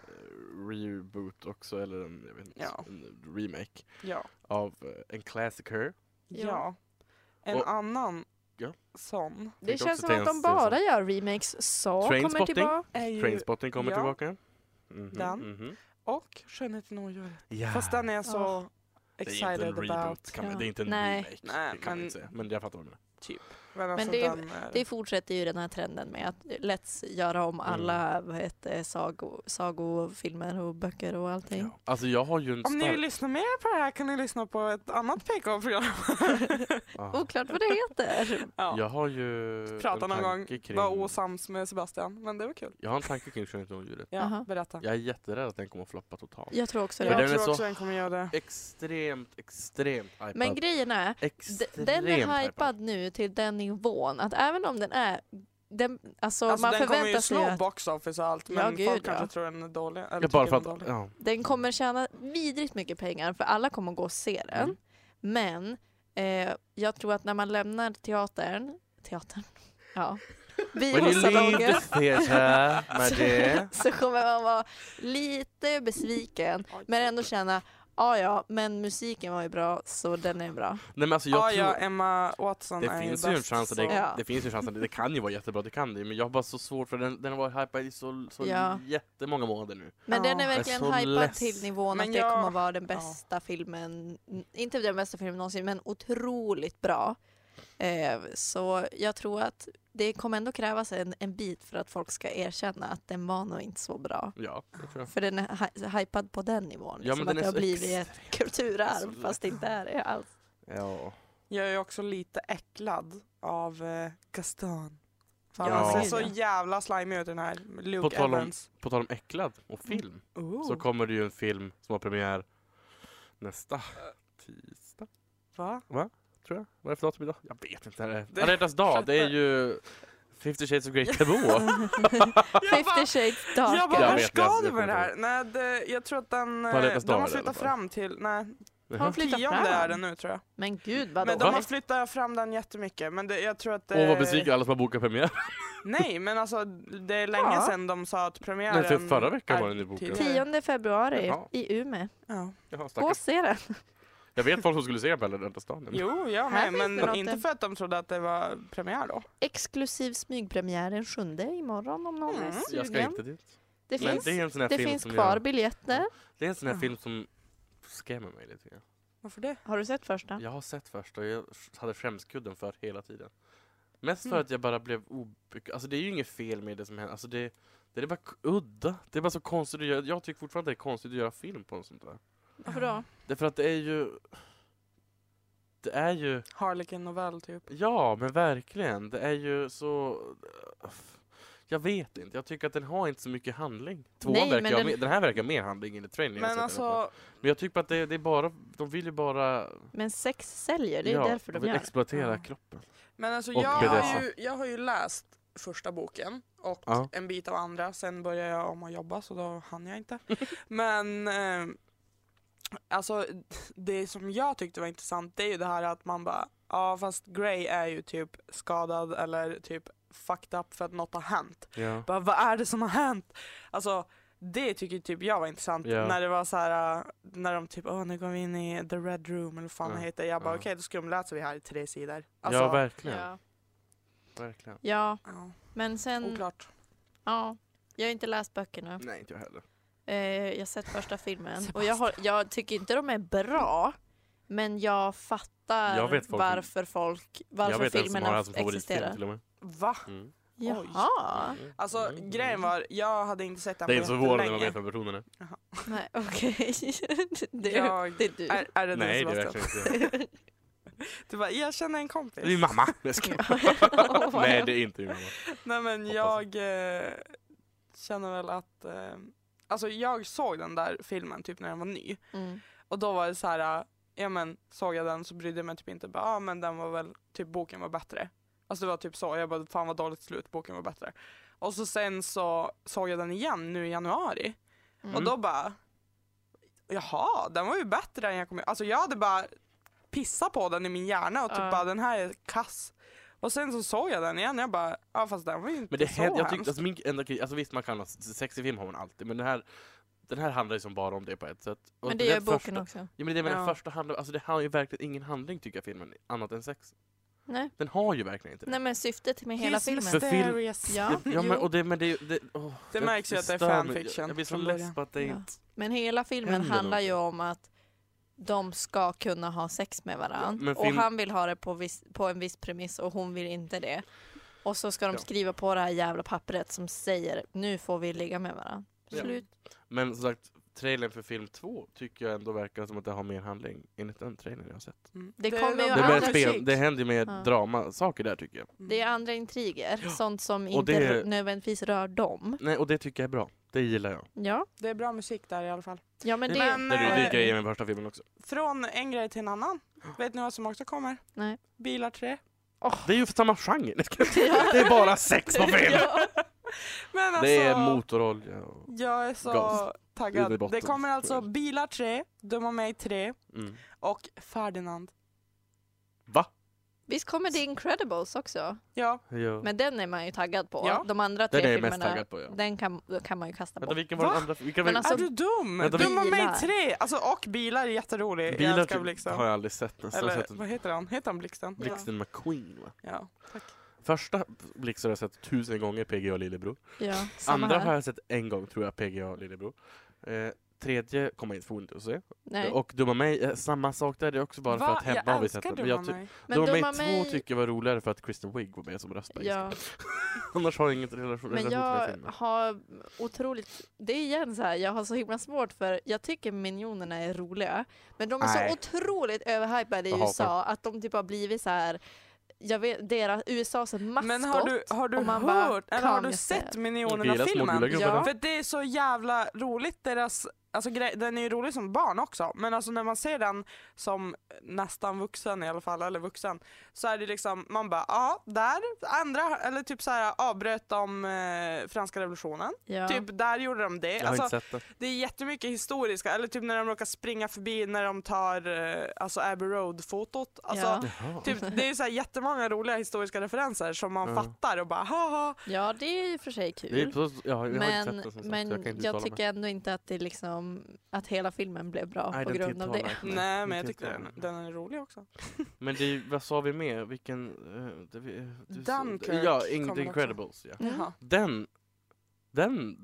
[SPEAKER 2] reboot också, eller en, jag vet inte,
[SPEAKER 4] Ja.
[SPEAKER 2] en remake
[SPEAKER 4] Ja.
[SPEAKER 2] av eh, en klassiker.
[SPEAKER 4] ja.
[SPEAKER 3] Ja.
[SPEAKER 4] En
[SPEAKER 2] Och-
[SPEAKER 4] annan
[SPEAKER 2] Ja.
[SPEAKER 4] sån
[SPEAKER 3] Det
[SPEAKER 2] också liksom.
[SPEAKER 3] känns som
[SPEAKER 2] till
[SPEAKER 3] att
[SPEAKER 2] en
[SPEAKER 3] de bara
[SPEAKER 2] säsong.
[SPEAKER 3] gör remakes. Sa kommer
[SPEAKER 2] Trainspotting.
[SPEAKER 3] tillbaka.
[SPEAKER 4] är ju...
[SPEAKER 2] Trainspotting kommer
[SPEAKER 4] ja.
[SPEAKER 2] tillbaka. Mhm,
[SPEAKER 4] Den.
[SPEAKER 2] mhm.
[SPEAKER 4] Och Skönheten och odjuret.
[SPEAKER 2] Ja.
[SPEAKER 4] Fast den är jag så
[SPEAKER 3] Ja.
[SPEAKER 2] det är inte en
[SPEAKER 4] excited
[SPEAKER 2] reboot,
[SPEAKER 4] about.
[SPEAKER 2] kan man,
[SPEAKER 3] Ja.
[SPEAKER 2] det är inte en
[SPEAKER 3] Nej.
[SPEAKER 2] remake.
[SPEAKER 4] Nej,
[SPEAKER 2] det kan man
[SPEAKER 4] men-
[SPEAKER 2] inte säga. Men jag fattar vad du menar.
[SPEAKER 4] Men, alltså
[SPEAKER 3] det är-
[SPEAKER 4] den är...
[SPEAKER 3] Det fortsätter ju den här trenden med att let's göra om alla vad heter, det, sago, sagofilmer och böcker och allting.
[SPEAKER 2] Ja. Alltså jag har ju en
[SPEAKER 4] Om ni vill
[SPEAKER 2] stark...
[SPEAKER 4] lyssna mer på det här kan ni lyssna på ett annat
[SPEAKER 2] [laughs]
[SPEAKER 4] PK-program.
[SPEAKER 2] Ja.
[SPEAKER 3] Oklart vad det heter.
[SPEAKER 4] ja.
[SPEAKER 2] Jag har ju
[SPEAKER 4] Prata
[SPEAKER 2] en
[SPEAKER 4] någon gång,
[SPEAKER 2] tanke kring...
[SPEAKER 4] Var osams med Sebastian, men det var kul.
[SPEAKER 2] Jag har en tanke kring Skönheten och odjuret.
[SPEAKER 4] Ja,
[SPEAKER 3] Aha.
[SPEAKER 4] berätta.
[SPEAKER 2] Jag är jätterädd att den kommer att floppa totalt.
[SPEAKER 3] Jag tror också
[SPEAKER 2] Men
[SPEAKER 4] Jag
[SPEAKER 2] den
[SPEAKER 3] det.
[SPEAKER 2] är
[SPEAKER 4] tror
[SPEAKER 2] så-
[SPEAKER 4] också den kommer göra det.
[SPEAKER 2] Extremt, extremt hypad.
[SPEAKER 3] Men grejen är, d-
[SPEAKER 2] extremt
[SPEAKER 3] den är
[SPEAKER 2] hypad.
[SPEAKER 3] hypad nu till den nivån att även om den är den, alltså,
[SPEAKER 4] Alltså,
[SPEAKER 3] man
[SPEAKER 4] den kommer
[SPEAKER 3] förväntar
[SPEAKER 4] ju
[SPEAKER 3] sig
[SPEAKER 4] slå
[SPEAKER 3] att
[SPEAKER 4] box office och allt,
[SPEAKER 3] Ja,
[SPEAKER 4] men
[SPEAKER 3] gud,
[SPEAKER 4] folk
[SPEAKER 3] ja.
[SPEAKER 4] kanske tror den är dålig. Eller
[SPEAKER 2] Ja,
[SPEAKER 4] tycker
[SPEAKER 2] bara för
[SPEAKER 4] den är
[SPEAKER 2] att,
[SPEAKER 4] dålig.
[SPEAKER 2] ja.
[SPEAKER 3] den kommer tjäna vidrigt mycket pengar för alla kommer gå och se den.
[SPEAKER 2] Mm.
[SPEAKER 3] Men eh, jag tror att när man lämnar teatern, teatern, ja,
[SPEAKER 2] When you leave
[SPEAKER 3] biosalongen
[SPEAKER 2] the theater med
[SPEAKER 3] [laughs]
[SPEAKER 2] det.
[SPEAKER 3] så kommer man vara lite besviken men ändå känna Ja, ja, men musiken var ju bra så den är bra.
[SPEAKER 2] Nej men alltså jag
[SPEAKER 4] Ja,
[SPEAKER 2] tror...
[SPEAKER 4] ja, Emma Watson
[SPEAKER 2] Det
[SPEAKER 4] är
[SPEAKER 2] finns,
[SPEAKER 4] ju
[SPEAKER 2] ju en
[SPEAKER 4] bäst,
[SPEAKER 2] chans att det,
[SPEAKER 4] så-
[SPEAKER 3] Ja.
[SPEAKER 2] det finns ju en chans att det, det kan ju vara jättebra, det kan det ju, men jag har bara så svårt för den, den har varit hypad i så, så
[SPEAKER 3] Ja.
[SPEAKER 2] jättemånga månader nu.
[SPEAKER 3] Men
[SPEAKER 4] Ja.
[SPEAKER 3] den är
[SPEAKER 2] är
[SPEAKER 3] verkligen
[SPEAKER 2] så
[SPEAKER 3] hypad
[SPEAKER 2] less.
[SPEAKER 3] till nivån
[SPEAKER 4] Men
[SPEAKER 3] att det
[SPEAKER 4] jag-
[SPEAKER 3] kommer vara den bästa filmen, inte den bästa filmen någonsin, men otroligt bra. Eh, så jag tror att det kommer ändå krävas en, en bit för att folk ska erkänna att den var nog inte så bra.
[SPEAKER 2] Ja, det tror jag.
[SPEAKER 3] För den är hy- hypad på den nivån,
[SPEAKER 2] Ja,
[SPEAKER 3] liksom
[SPEAKER 2] men
[SPEAKER 3] att
[SPEAKER 2] den är
[SPEAKER 3] det har
[SPEAKER 2] så
[SPEAKER 3] blivit
[SPEAKER 2] extrem.
[SPEAKER 3] ett kulturarv
[SPEAKER 2] Så-
[SPEAKER 3] fast det inte är det alls.
[SPEAKER 2] Ja.
[SPEAKER 4] Jag är också lite äcklad av eh, Gaston. Fan,
[SPEAKER 2] Ja.
[SPEAKER 4] Han ser
[SPEAKER 2] Gud,
[SPEAKER 4] så
[SPEAKER 3] ja.
[SPEAKER 4] jävla slimy ut den här. Luke
[SPEAKER 2] På tal om-
[SPEAKER 4] Evans.
[SPEAKER 2] På tal om äcklad och film,
[SPEAKER 4] Ooh.
[SPEAKER 2] så kommer det ju en film som har premiär nästa tisdag,
[SPEAKER 4] Va?
[SPEAKER 2] [laughs] tror jag. Vad är det för datum idag? Jag vet inte. Det är
[SPEAKER 4] Det-
[SPEAKER 2] Alla hjärtans dag, det är ju 50 shades of Grey Taboo.
[SPEAKER 3] Fifty shades darker.
[SPEAKER 4] Jag bara,
[SPEAKER 2] Jag
[SPEAKER 4] hur
[SPEAKER 2] vet,
[SPEAKER 4] ska
[SPEAKER 2] jag-
[SPEAKER 4] du
[SPEAKER 2] jag
[SPEAKER 4] med det här?
[SPEAKER 2] kommer
[SPEAKER 4] Nej, det, jag tror att den... eh,
[SPEAKER 2] På alla hjärtans
[SPEAKER 4] De
[SPEAKER 2] dag
[SPEAKER 4] har
[SPEAKER 2] är det i alla
[SPEAKER 4] flyttat
[SPEAKER 2] fall.
[SPEAKER 4] fram till... Nej,
[SPEAKER 3] Har
[SPEAKER 2] Jaha.
[SPEAKER 3] de flyttat
[SPEAKER 4] tionde är den
[SPEAKER 3] fram?
[SPEAKER 4] nu tror jag.
[SPEAKER 3] Men gud vadå?
[SPEAKER 4] Men de har
[SPEAKER 2] Va?
[SPEAKER 4] flyttat fram den jättemycket. Men det, jag tror att...
[SPEAKER 2] Åh vad
[SPEAKER 4] eh,
[SPEAKER 2] besviken alla som har bokat premiär.
[SPEAKER 4] Nej, men alltså det är länge
[SPEAKER 3] Ja.
[SPEAKER 4] sedan de sa att premiären...
[SPEAKER 2] Nej, för förra veckan var den ju
[SPEAKER 4] är
[SPEAKER 2] bokad.
[SPEAKER 4] tidigare.
[SPEAKER 3] 10 februari
[SPEAKER 2] Jaha.
[SPEAKER 3] i Umeå.
[SPEAKER 4] Ja.
[SPEAKER 2] Jaha,
[SPEAKER 3] Gå och
[SPEAKER 2] stackars.
[SPEAKER 3] se den.
[SPEAKER 2] Jag vet folk som skulle se på Alla hjärtans dag. nu.
[SPEAKER 4] Jo, jag
[SPEAKER 3] Här
[SPEAKER 4] med,
[SPEAKER 3] finns det
[SPEAKER 4] men
[SPEAKER 3] något.
[SPEAKER 4] inte för att de trodde att det var premiär då.
[SPEAKER 3] Exklusiv smygpremiär den sjunde imorgon om någon är
[SPEAKER 4] Mm.
[SPEAKER 2] Jag ska
[SPEAKER 3] sugen.
[SPEAKER 2] inte dit.
[SPEAKER 3] Det
[SPEAKER 2] Men
[SPEAKER 3] finns,
[SPEAKER 2] det är en sån här
[SPEAKER 3] det
[SPEAKER 2] film
[SPEAKER 3] finns
[SPEAKER 2] som
[SPEAKER 3] kvar
[SPEAKER 2] jag...
[SPEAKER 3] biljetter.
[SPEAKER 2] Det är en sån här
[SPEAKER 4] Ja.
[SPEAKER 2] film som skrämmer mig lite grann.
[SPEAKER 4] Varför det?
[SPEAKER 3] Har du sett första?
[SPEAKER 2] Jag har sett först och jag hade skämskudden för hela tiden. Mest för
[SPEAKER 4] Mm.
[SPEAKER 2] att jag bara blev obekväm. Alltså det är ju inget fel med det som händer. Alltså det, det är bara k- udda. Det är bara så konstigt att göra. Jag tycker fortfarande det är konstigt att göra film på något sånt där.
[SPEAKER 3] Varför då?
[SPEAKER 2] Därför att det är ju... Det är ju...
[SPEAKER 4] Harlequin novell typ.
[SPEAKER 2] Ja, men verkligen. Det är ju så... Jag vet inte. Jag tycker att den har inte så mycket handling. Tvåan
[SPEAKER 3] Nej,
[SPEAKER 2] verkar
[SPEAKER 3] men
[SPEAKER 2] den...
[SPEAKER 3] den-
[SPEAKER 2] Mer, den här verkar mer handling än i trailern. jag har
[SPEAKER 4] Men
[SPEAKER 2] sett i alla fall.
[SPEAKER 4] alltså,
[SPEAKER 2] men jag tycker bara att det, det är bara... De vill ju bara...
[SPEAKER 3] Men sex säljer, det är därför de
[SPEAKER 2] vill
[SPEAKER 3] gör det.
[SPEAKER 2] exploatera
[SPEAKER 4] Ja.
[SPEAKER 2] kroppen.
[SPEAKER 4] men alltså
[SPEAKER 2] Och
[SPEAKER 4] jag, har
[SPEAKER 2] BDSM.
[SPEAKER 4] ju, jag har ju läst första boken och
[SPEAKER 2] Ja.
[SPEAKER 4] en bit av andra. Sen började jag om att jobba så då hann jag inte. [laughs] men eh, alltså det som jag tyckte var intressant det är ju det här att man bara ja fast Grey är ju typ skadad eller typ fucked up för att något har hänt.
[SPEAKER 2] Ja.
[SPEAKER 4] Bara, vad är det som har hänt? Alltså, det tycker typ jag var intressant.
[SPEAKER 2] Ja.
[SPEAKER 4] När det var så här, äh, när de typ, åh nu går vi in i the red room eller vad fan
[SPEAKER 2] Ja,
[SPEAKER 4] det heter. Jag bara,
[SPEAKER 2] ja.
[SPEAKER 4] okej då skumläser vi här i tre sidor. Alltså,
[SPEAKER 2] ja, verkligen.
[SPEAKER 3] Ja.
[SPEAKER 2] verkligen.
[SPEAKER 3] ja,
[SPEAKER 4] ja,
[SPEAKER 3] men sen...
[SPEAKER 4] oklart.
[SPEAKER 3] Ja, jag har inte läst böckerna.
[SPEAKER 2] Nej, inte jag heller.
[SPEAKER 3] Eh, jag har sett första filmen. Och jag, har, jag tycker inte de är bra, men jag fattar
[SPEAKER 2] Jag vet folk-
[SPEAKER 3] varför folk... Varför
[SPEAKER 2] jag vet en som har det
[SPEAKER 3] filmerna
[SPEAKER 2] här som favoritfilm
[SPEAKER 3] existerar.
[SPEAKER 2] till och med.
[SPEAKER 4] Va?
[SPEAKER 2] Mm.
[SPEAKER 4] Oj.
[SPEAKER 3] Jaha.
[SPEAKER 2] Mm.
[SPEAKER 4] Alltså
[SPEAKER 2] Mm.
[SPEAKER 4] grejen var, jag hade inte sett den
[SPEAKER 2] Det är
[SPEAKER 4] på
[SPEAKER 2] inte så förvånande när man
[SPEAKER 4] jättelänge.
[SPEAKER 2] vet vem personen är.
[SPEAKER 3] Nej, okej. [laughs] Det, är-
[SPEAKER 4] Jag
[SPEAKER 3] det är du.
[SPEAKER 4] är, är det du
[SPEAKER 2] Nej, det är
[SPEAKER 4] Sebastian?
[SPEAKER 2] verkligen inte jag.
[SPEAKER 4] Du bara, jag känner en
[SPEAKER 2] Det är min
[SPEAKER 4] kompis. [laughs]
[SPEAKER 2] mamma! Jag skojar. [laughs] Nej, det är inte min mamma.
[SPEAKER 4] Nej men
[SPEAKER 2] Hoppas.
[SPEAKER 4] jag eh, känner väl att, eh, alltså jag såg den där filmen typ när den var ny.
[SPEAKER 3] Mm.
[SPEAKER 4] Och då var det så här, äh, ja men såg jag den så brydde jag mig typ inte, bara, ah, men den var väl, typ boken var bättre. Alltså det var typ så, jag bara fan vad dåligt slut, boken var bättre. Och så sen så såg jag den igen nu i januari
[SPEAKER 3] Mm.
[SPEAKER 4] och då bara, jaha den var ju bättre än jag kom ihåg. Alltså jag hade bara pissat på den i min hjärna och typ
[SPEAKER 3] Ja.
[SPEAKER 4] bara den här är kass. Och sen så såg jag den igen och jag bara, ja fast den var ju inte
[SPEAKER 2] Men det
[SPEAKER 4] så
[SPEAKER 2] händer, jag
[SPEAKER 4] hemsk.
[SPEAKER 2] tycker, alltså, min, enda, kritik- alltså visst man kan ha, sex i film har man alltid, men den här, den här handlar ju som bara om det på ett sätt. Och
[SPEAKER 3] Men det gör
[SPEAKER 2] den
[SPEAKER 3] boken
[SPEAKER 2] första,
[SPEAKER 3] också.
[SPEAKER 2] Ja men det är väl den
[SPEAKER 4] Ja.
[SPEAKER 2] första handlar, alltså det har ju verkligen ingen handling tycker jag filmen, annat än sex.
[SPEAKER 3] Nej.
[SPEAKER 2] Den har ju verkligen inte det.
[SPEAKER 3] Nej men syftet med hela
[SPEAKER 4] He's
[SPEAKER 3] filmen.
[SPEAKER 2] För film-
[SPEAKER 4] mysterious.
[SPEAKER 3] Ja,
[SPEAKER 2] Ja,
[SPEAKER 4] [laughs]
[SPEAKER 2] men,
[SPEAKER 3] jo.
[SPEAKER 2] och det, men det, det, åh,
[SPEAKER 4] Det märks ju att det är
[SPEAKER 2] stör mig.
[SPEAKER 4] fanfiction
[SPEAKER 2] Jag, jag blir så
[SPEAKER 4] från
[SPEAKER 2] less
[SPEAKER 4] början.
[SPEAKER 2] på att det
[SPEAKER 3] Ja.
[SPEAKER 2] inte...
[SPEAKER 3] men hela filmen
[SPEAKER 2] Händer
[SPEAKER 3] handlar ju
[SPEAKER 2] någonting.
[SPEAKER 3] om att de ska kunna ha sex med varandra.
[SPEAKER 2] men
[SPEAKER 3] Och
[SPEAKER 2] film-
[SPEAKER 3] han vill ha det på, viss, på en viss premiss och hon vill inte det. Och så ska de
[SPEAKER 2] Ja.
[SPEAKER 3] skriva på det här jävla pappret som säger nu får vi ligga med varandra.
[SPEAKER 2] Ja.
[SPEAKER 3] Slut.
[SPEAKER 2] Men som sagt, trailern för film 2 tycker jag ändå verkar som att det har mer handling enligt den trailern jag har sett.
[SPEAKER 4] Mm.
[SPEAKER 3] Det kommer
[SPEAKER 4] låter
[SPEAKER 3] ju Ja,
[SPEAKER 2] Det, är mer
[SPEAKER 3] andra
[SPEAKER 2] spel, det händer ju mer
[SPEAKER 3] Ja.
[SPEAKER 2] dramasaker där tycker jag.
[SPEAKER 3] Det är andra intriger, sånt som inte
[SPEAKER 2] det-
[SPEAKER 3] r- nödvändigtvis rör dem.
[SPEAKER 2] Nej, och det tycker jag är bra. Det gillar jag.
[SPEAKER 3] Ja,
[SPEAKER 4] Det är bra musik där i alla fall.
[SPEAKER 3] ja men det...
[SPEAKER 4] Men,
[SPEAKER 2] Det är ju
[SPEAKER 4] eh,
[SPEAKER 2] det grejen med första filmen också.
[SPEAKER 4] Från en grej till en annan. Vet ni vad som också kommer?
[SPEAKER 3] Nej.
[SPEAKER 2] [laughs]
[SPEAKER 4] Bilar 3.
[SPEAKER 3] Åh.
[SPEAKER 2] Det är ju för samma
[SPEAKER 3] [laughs]
[SPEAKER 2] genre. Det är bara sex på film!
[SPEAKER 3] Ja.
[SPEAKER 4] Men alltså,
[SPEAKER 2] Det är motorolja och...
[SPEAKER 4] jag är så
[SPEAKER 2] gas. In i
[SPEAKER 4] taggad.
[SPEAKER 2] botten.
[SPEAKER 4] Det kommer alltså Bilar 3, Döma mig 3
[SPEAKER 2] Mm.
[SPEAKER 4] och Ferdinand.
[SPEAKER 2] Va?
[SPEAKER 3] Visst kommer The Incredibles också?
[SPEAKER 4] Ja,
[SPEAKER 2] Ja.
[SPEAKER 3] Men den är man ju taggad på.
[SPEAKER 4] Ja.
[SPEAKER 3] De andra tre
[SPEAKER 2] Den är jag mest
[SPEAKER 3] filmerna,
[SPEAKER 2] taggad på ja.
[SPEAKER 3] den kan, då kan man ju kasta
[SPEAKER 2] Vänta
[SPEAKER 3] bort.
[SPEAKER 2] vilken var den
[SPEAKER 4] Va?
[SPEAKER 2] andra? Vilken
[SPEAKER 3] Men
[SPEAKER 2] var...
[SPEAKER 3] alltså-
[SPEAKER 4] är du dum?
[SPEAKER 2] Vänta,
[SPEAKER 4] Döma mig
[SPEAKER 3] bilar.
[SPEAKER 4] 3! Alltså, och bilar är jätterolig. jag
[SPEAKER 2] Bilar
[SPEAKER 4] älskar
[SPEAKER 2] typ,
[SPEAKER 3] liksom-
[SPEAKER 4] Blixten.
[SPEAKER 2] har jag aldrig sett nästan. Jag har
[SPEAKER 4] Eller
[SPEAKER 2] sett en-
[SPEAKER 4] vad heter han? Heter han Blixten?
[SPEAKER 2] Blixten McQueen va?
[SPEAKER 4] Ja, tack.
[SPEAKER 2] Första Blixten har jag sett tusen gånger, PGA Lillebror.
[SPEAKER 3] Ja, samma
[SPEAKER 2] Andra
[SPEAKER 3] här.
[SPEAKER 2] har jag sett en gång tror jag, PGA Lillebror. Eh, tredje kommer jag inte förmodligen att se.
[SPEAKER 3] Nej.
[SPEAKER 2] Och Dumma mig, eh, samma sak där. Det är också bara för att hemma har
[SPEAKER 4] jag
[SPEAKER 2] vi sett
[SPEAKER 4] älskar
[SPEAKER 2] den. Men
[SPEAKER 4] Döma
[SPEAKER 2] jag typ- ty-
[SPEAKER 4] mig.
[SPEAKER 3] Men
[SPEAKER 2] Dumma mig
[SPEAKER 3] Dumma mig-
[SPEAKER 2] två tycker jag var roligare för att Kristen Wiig var med som röstare.
[SPEAKER 3] Ja,
[SPEAKER 2] [laughs] Annars har jag inget relation,
[SPEAKER 3] men
[SPEAKER 2] relation till den
[SPEAKER 3] jag ah,
[SPEAKER 2] filmen.
[SPEAKER 3] har otroligt, det är igen så här, jag har så himla svårt för jag tycker Minionerna är roliga, men de är
[SPEAKER 2] Nej.
[SPEAKER 3] så otroligt överhypade i
[SPEAKER 2] Jag hatar
[SPEAKER 3] USA att de typ har blivit så här, jag vet, deras, USAs maskot.
[SPEAKER 4] Men har du, har du
[SPEAKER 3] och man bara,
[SPEAKER 4] hört, eller
[SPEAKER 3] kan
[SPEAKER 4] har du
[SPEAKER 3] jag
[SPEAKER 4] sett
[SPEAKER 3] säga.
[SPEAKER 2] Jag gillar små gula
[SPEAKER 4] Minionerna-filmen?
[SPEAKER 2] gubbar.
[SPEAKER 3] Ja.
[SPEAKER 4] För det är så jävla roligt, deras, alltså, grej, den är ju rolig som barn också, men alltså när man ser den som nästan vuxen i alla fall, eller vuxen, så är det liksom, man bara ja, där, andra, eller typ så här avbröt de eh, franska revolutionen,
[SPEAKER 3] ja.
[SPEAKER 4] typ där gjorde de det.
[SPEAKER 2] Jag har
[SPEAKER 4] Alltså,
[SPEAKER 2] inte sett den.
[SPEAKER 4] det är jättemycket historiska, eller typ när de råkar springa förbi när de tar eh, alltså Abbey Road-fotot. Alltså,
[SPEAKER 3] Ja.
[SPEAKER 2] Jaha.
[SPEAKER 4] Typ, det är så här jättemånga roliga historiska referenser som man
[SPEAKER 2] Ja.
[SPEAKER 4] fattar och bara haha.
[SPEAKER 3] ja, det är ju för sig kul.
[SPEAKER 2] Det är så, ja, jag har inte
[SPEAKER 3] men
[SPEAKER 2] sett den som sagt,
[SPEAKER 3] men
[SPEAKER 2] så jag
[SPEAKER 3] jag,
[SPEAKER 2] kan inte uttala mig.
[SPEAKER 3] tycker ändå inte att det liksom, att hela filmen blev bra
[SPEAKER 2] Nej, typ
[SPEAKER 3] på
[SPEAKER 2] den
[SPEAKER 3] grund av
[SPEAKER 2] tilltalar
[SPEAKER 3] det.
[SPEAKER 2] inte mig.
[SPEAKER 4] Nej men
[SPEAKER 2] Den
[SPEAKER 4] jag tyckte
[SPEAKER 2] tilltalar mig.
[SPEAKER 4] den, den är rolig också.
[SPEAKER 2] Men det, är ju- vad sa vi mer? Vilken... eh, det vi- du sa-
[SPEAKER 4] Dunkirk
[SPEAKER 2] Ja,
[SPEAKER 4] kom
[SPEAKER 2] In-
[SPEAKER 4] också.
[SPEAKER 2] The Incredibles. Ja.
[SPEAKER 3] Mm.
[SPEAKER 4] Jaha.
[SPEAKER 2] Den, den,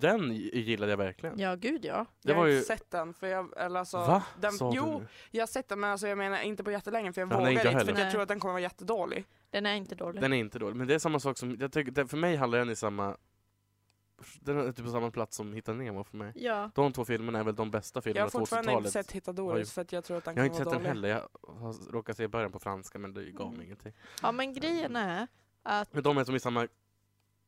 [SPEAKER 2] den gillade jag verkligen.
[SPEAKER 3] Ja, gud ja.
[SPEAKER 2] Det
[SPEAKER 4] Jag
[SPEAKER 2] var
[SPEAKER 4] har
[SPEAKER 2] ju...
[SPEAKER 4] inte sett den för jag, eller alltså,
[SPEAKER 2] Va?
[SPEAKER 4] Den,
[SPEAKER 2] Sa du
[SPEAKER 4] jo,
[SPEAKER 2] nu?
[SPEAKER 4] jag har sett den men alltså, jag menar inte på jättelänge för jag
[SPEAKER 2] Ja, nej,
[SPEAKER 4] vågar
[SPEAKER 2] inte
[SPEAKER 4] inte
[SPEAKER 2] jag
[SPEAKER 4] för
[SPEAKER 2] heller.
[SPEAKER 4] jag
[SPEAKER 3] Nej.
[SPEAKER 4] tror att den kommer vara jättedålig.
[SPEAKER 3] Den är inte dålig.
[SPEAKER 2] Den är inte dålig, men det är samma sak som... Jag tycker, den- för mig handlar den i samma... Den är typ på samma plats som Hitta Nemo för mig.
[SPEAKER 3] Ja.
[SPEAKER 2] De två filmerna är väl de bästa
[SPEAKER 4] Jag
[SPEAKER 2] filmerna
[SPEAKER 4] har
[SPEAKER 2] på
[SPEAKER 4] fortfarande inte
[SPEAKER 2] 80-talet.
[SPEAKER 4] sett Hitta
[SPEAKER 2] Oj.
[SPEAKER 4] Doris så att jag tror att den
[SPEAKER 2] jag har
[SPEAKER 4] kommer
[SPEAKER 2] inte
[SPEAKER 4] vara
[SPEAKER 2] sett den
[SPEAKER 4] dålig.
[SPEAKER 2] heller, jag har råkat se början på franska men det gav mig ingenting.
[SPEAKER 3] ja, men grejen är att,
[SPEAKER 2] Men de är som i samma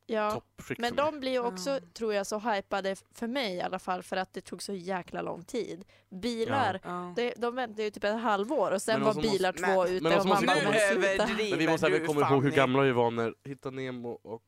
[SPEAKER 3] ja.
[SPEAKER 2] toppskikt
[SPEAKER 3] Men
[SPEAKER 2] som
[SPEAKER 3] de blir ju också,
[SPEAKER 4] Ja.
[SPEAKER 3] tror jag, så hypade f- för mig i alla fall för att det tog så jäkla lång tid. Bilar,
[SPEAKER 4] Ja.
[SPEAKER 3] det, de väntade ju typ ett halvår och
[SPEAKER 2] Men
[SPEAKER 3] sen var
[SPEAKER 2] också måste-
[SPEAKER 3] bilar
[SPEAKER 4] Nej,
[SPEAKER 3] två
[SPEAKER 2] men
[SPEAKER 3] ute
[SPEAKER 2] också
[SPEAKER 3] och
[SPEAKER 2] måste
[SPEAKER 3] man
[SPEAKER 2] vi
[SPEAKER 4] Nu
[SPEAKER 3] bara
[SPEAKER 2] komma-
[SPEAKER 3] "Men sluta."
[SPEAKER 4] överdriver
[SPEAKER 2] Men vi måste även
[SPEAKER 4] du,
[SPEAKER 2] komma ihåg hur
[SPEAKER 4] Fanny.
[SPEAKER 2] gamla vi var när Hitta Nemo och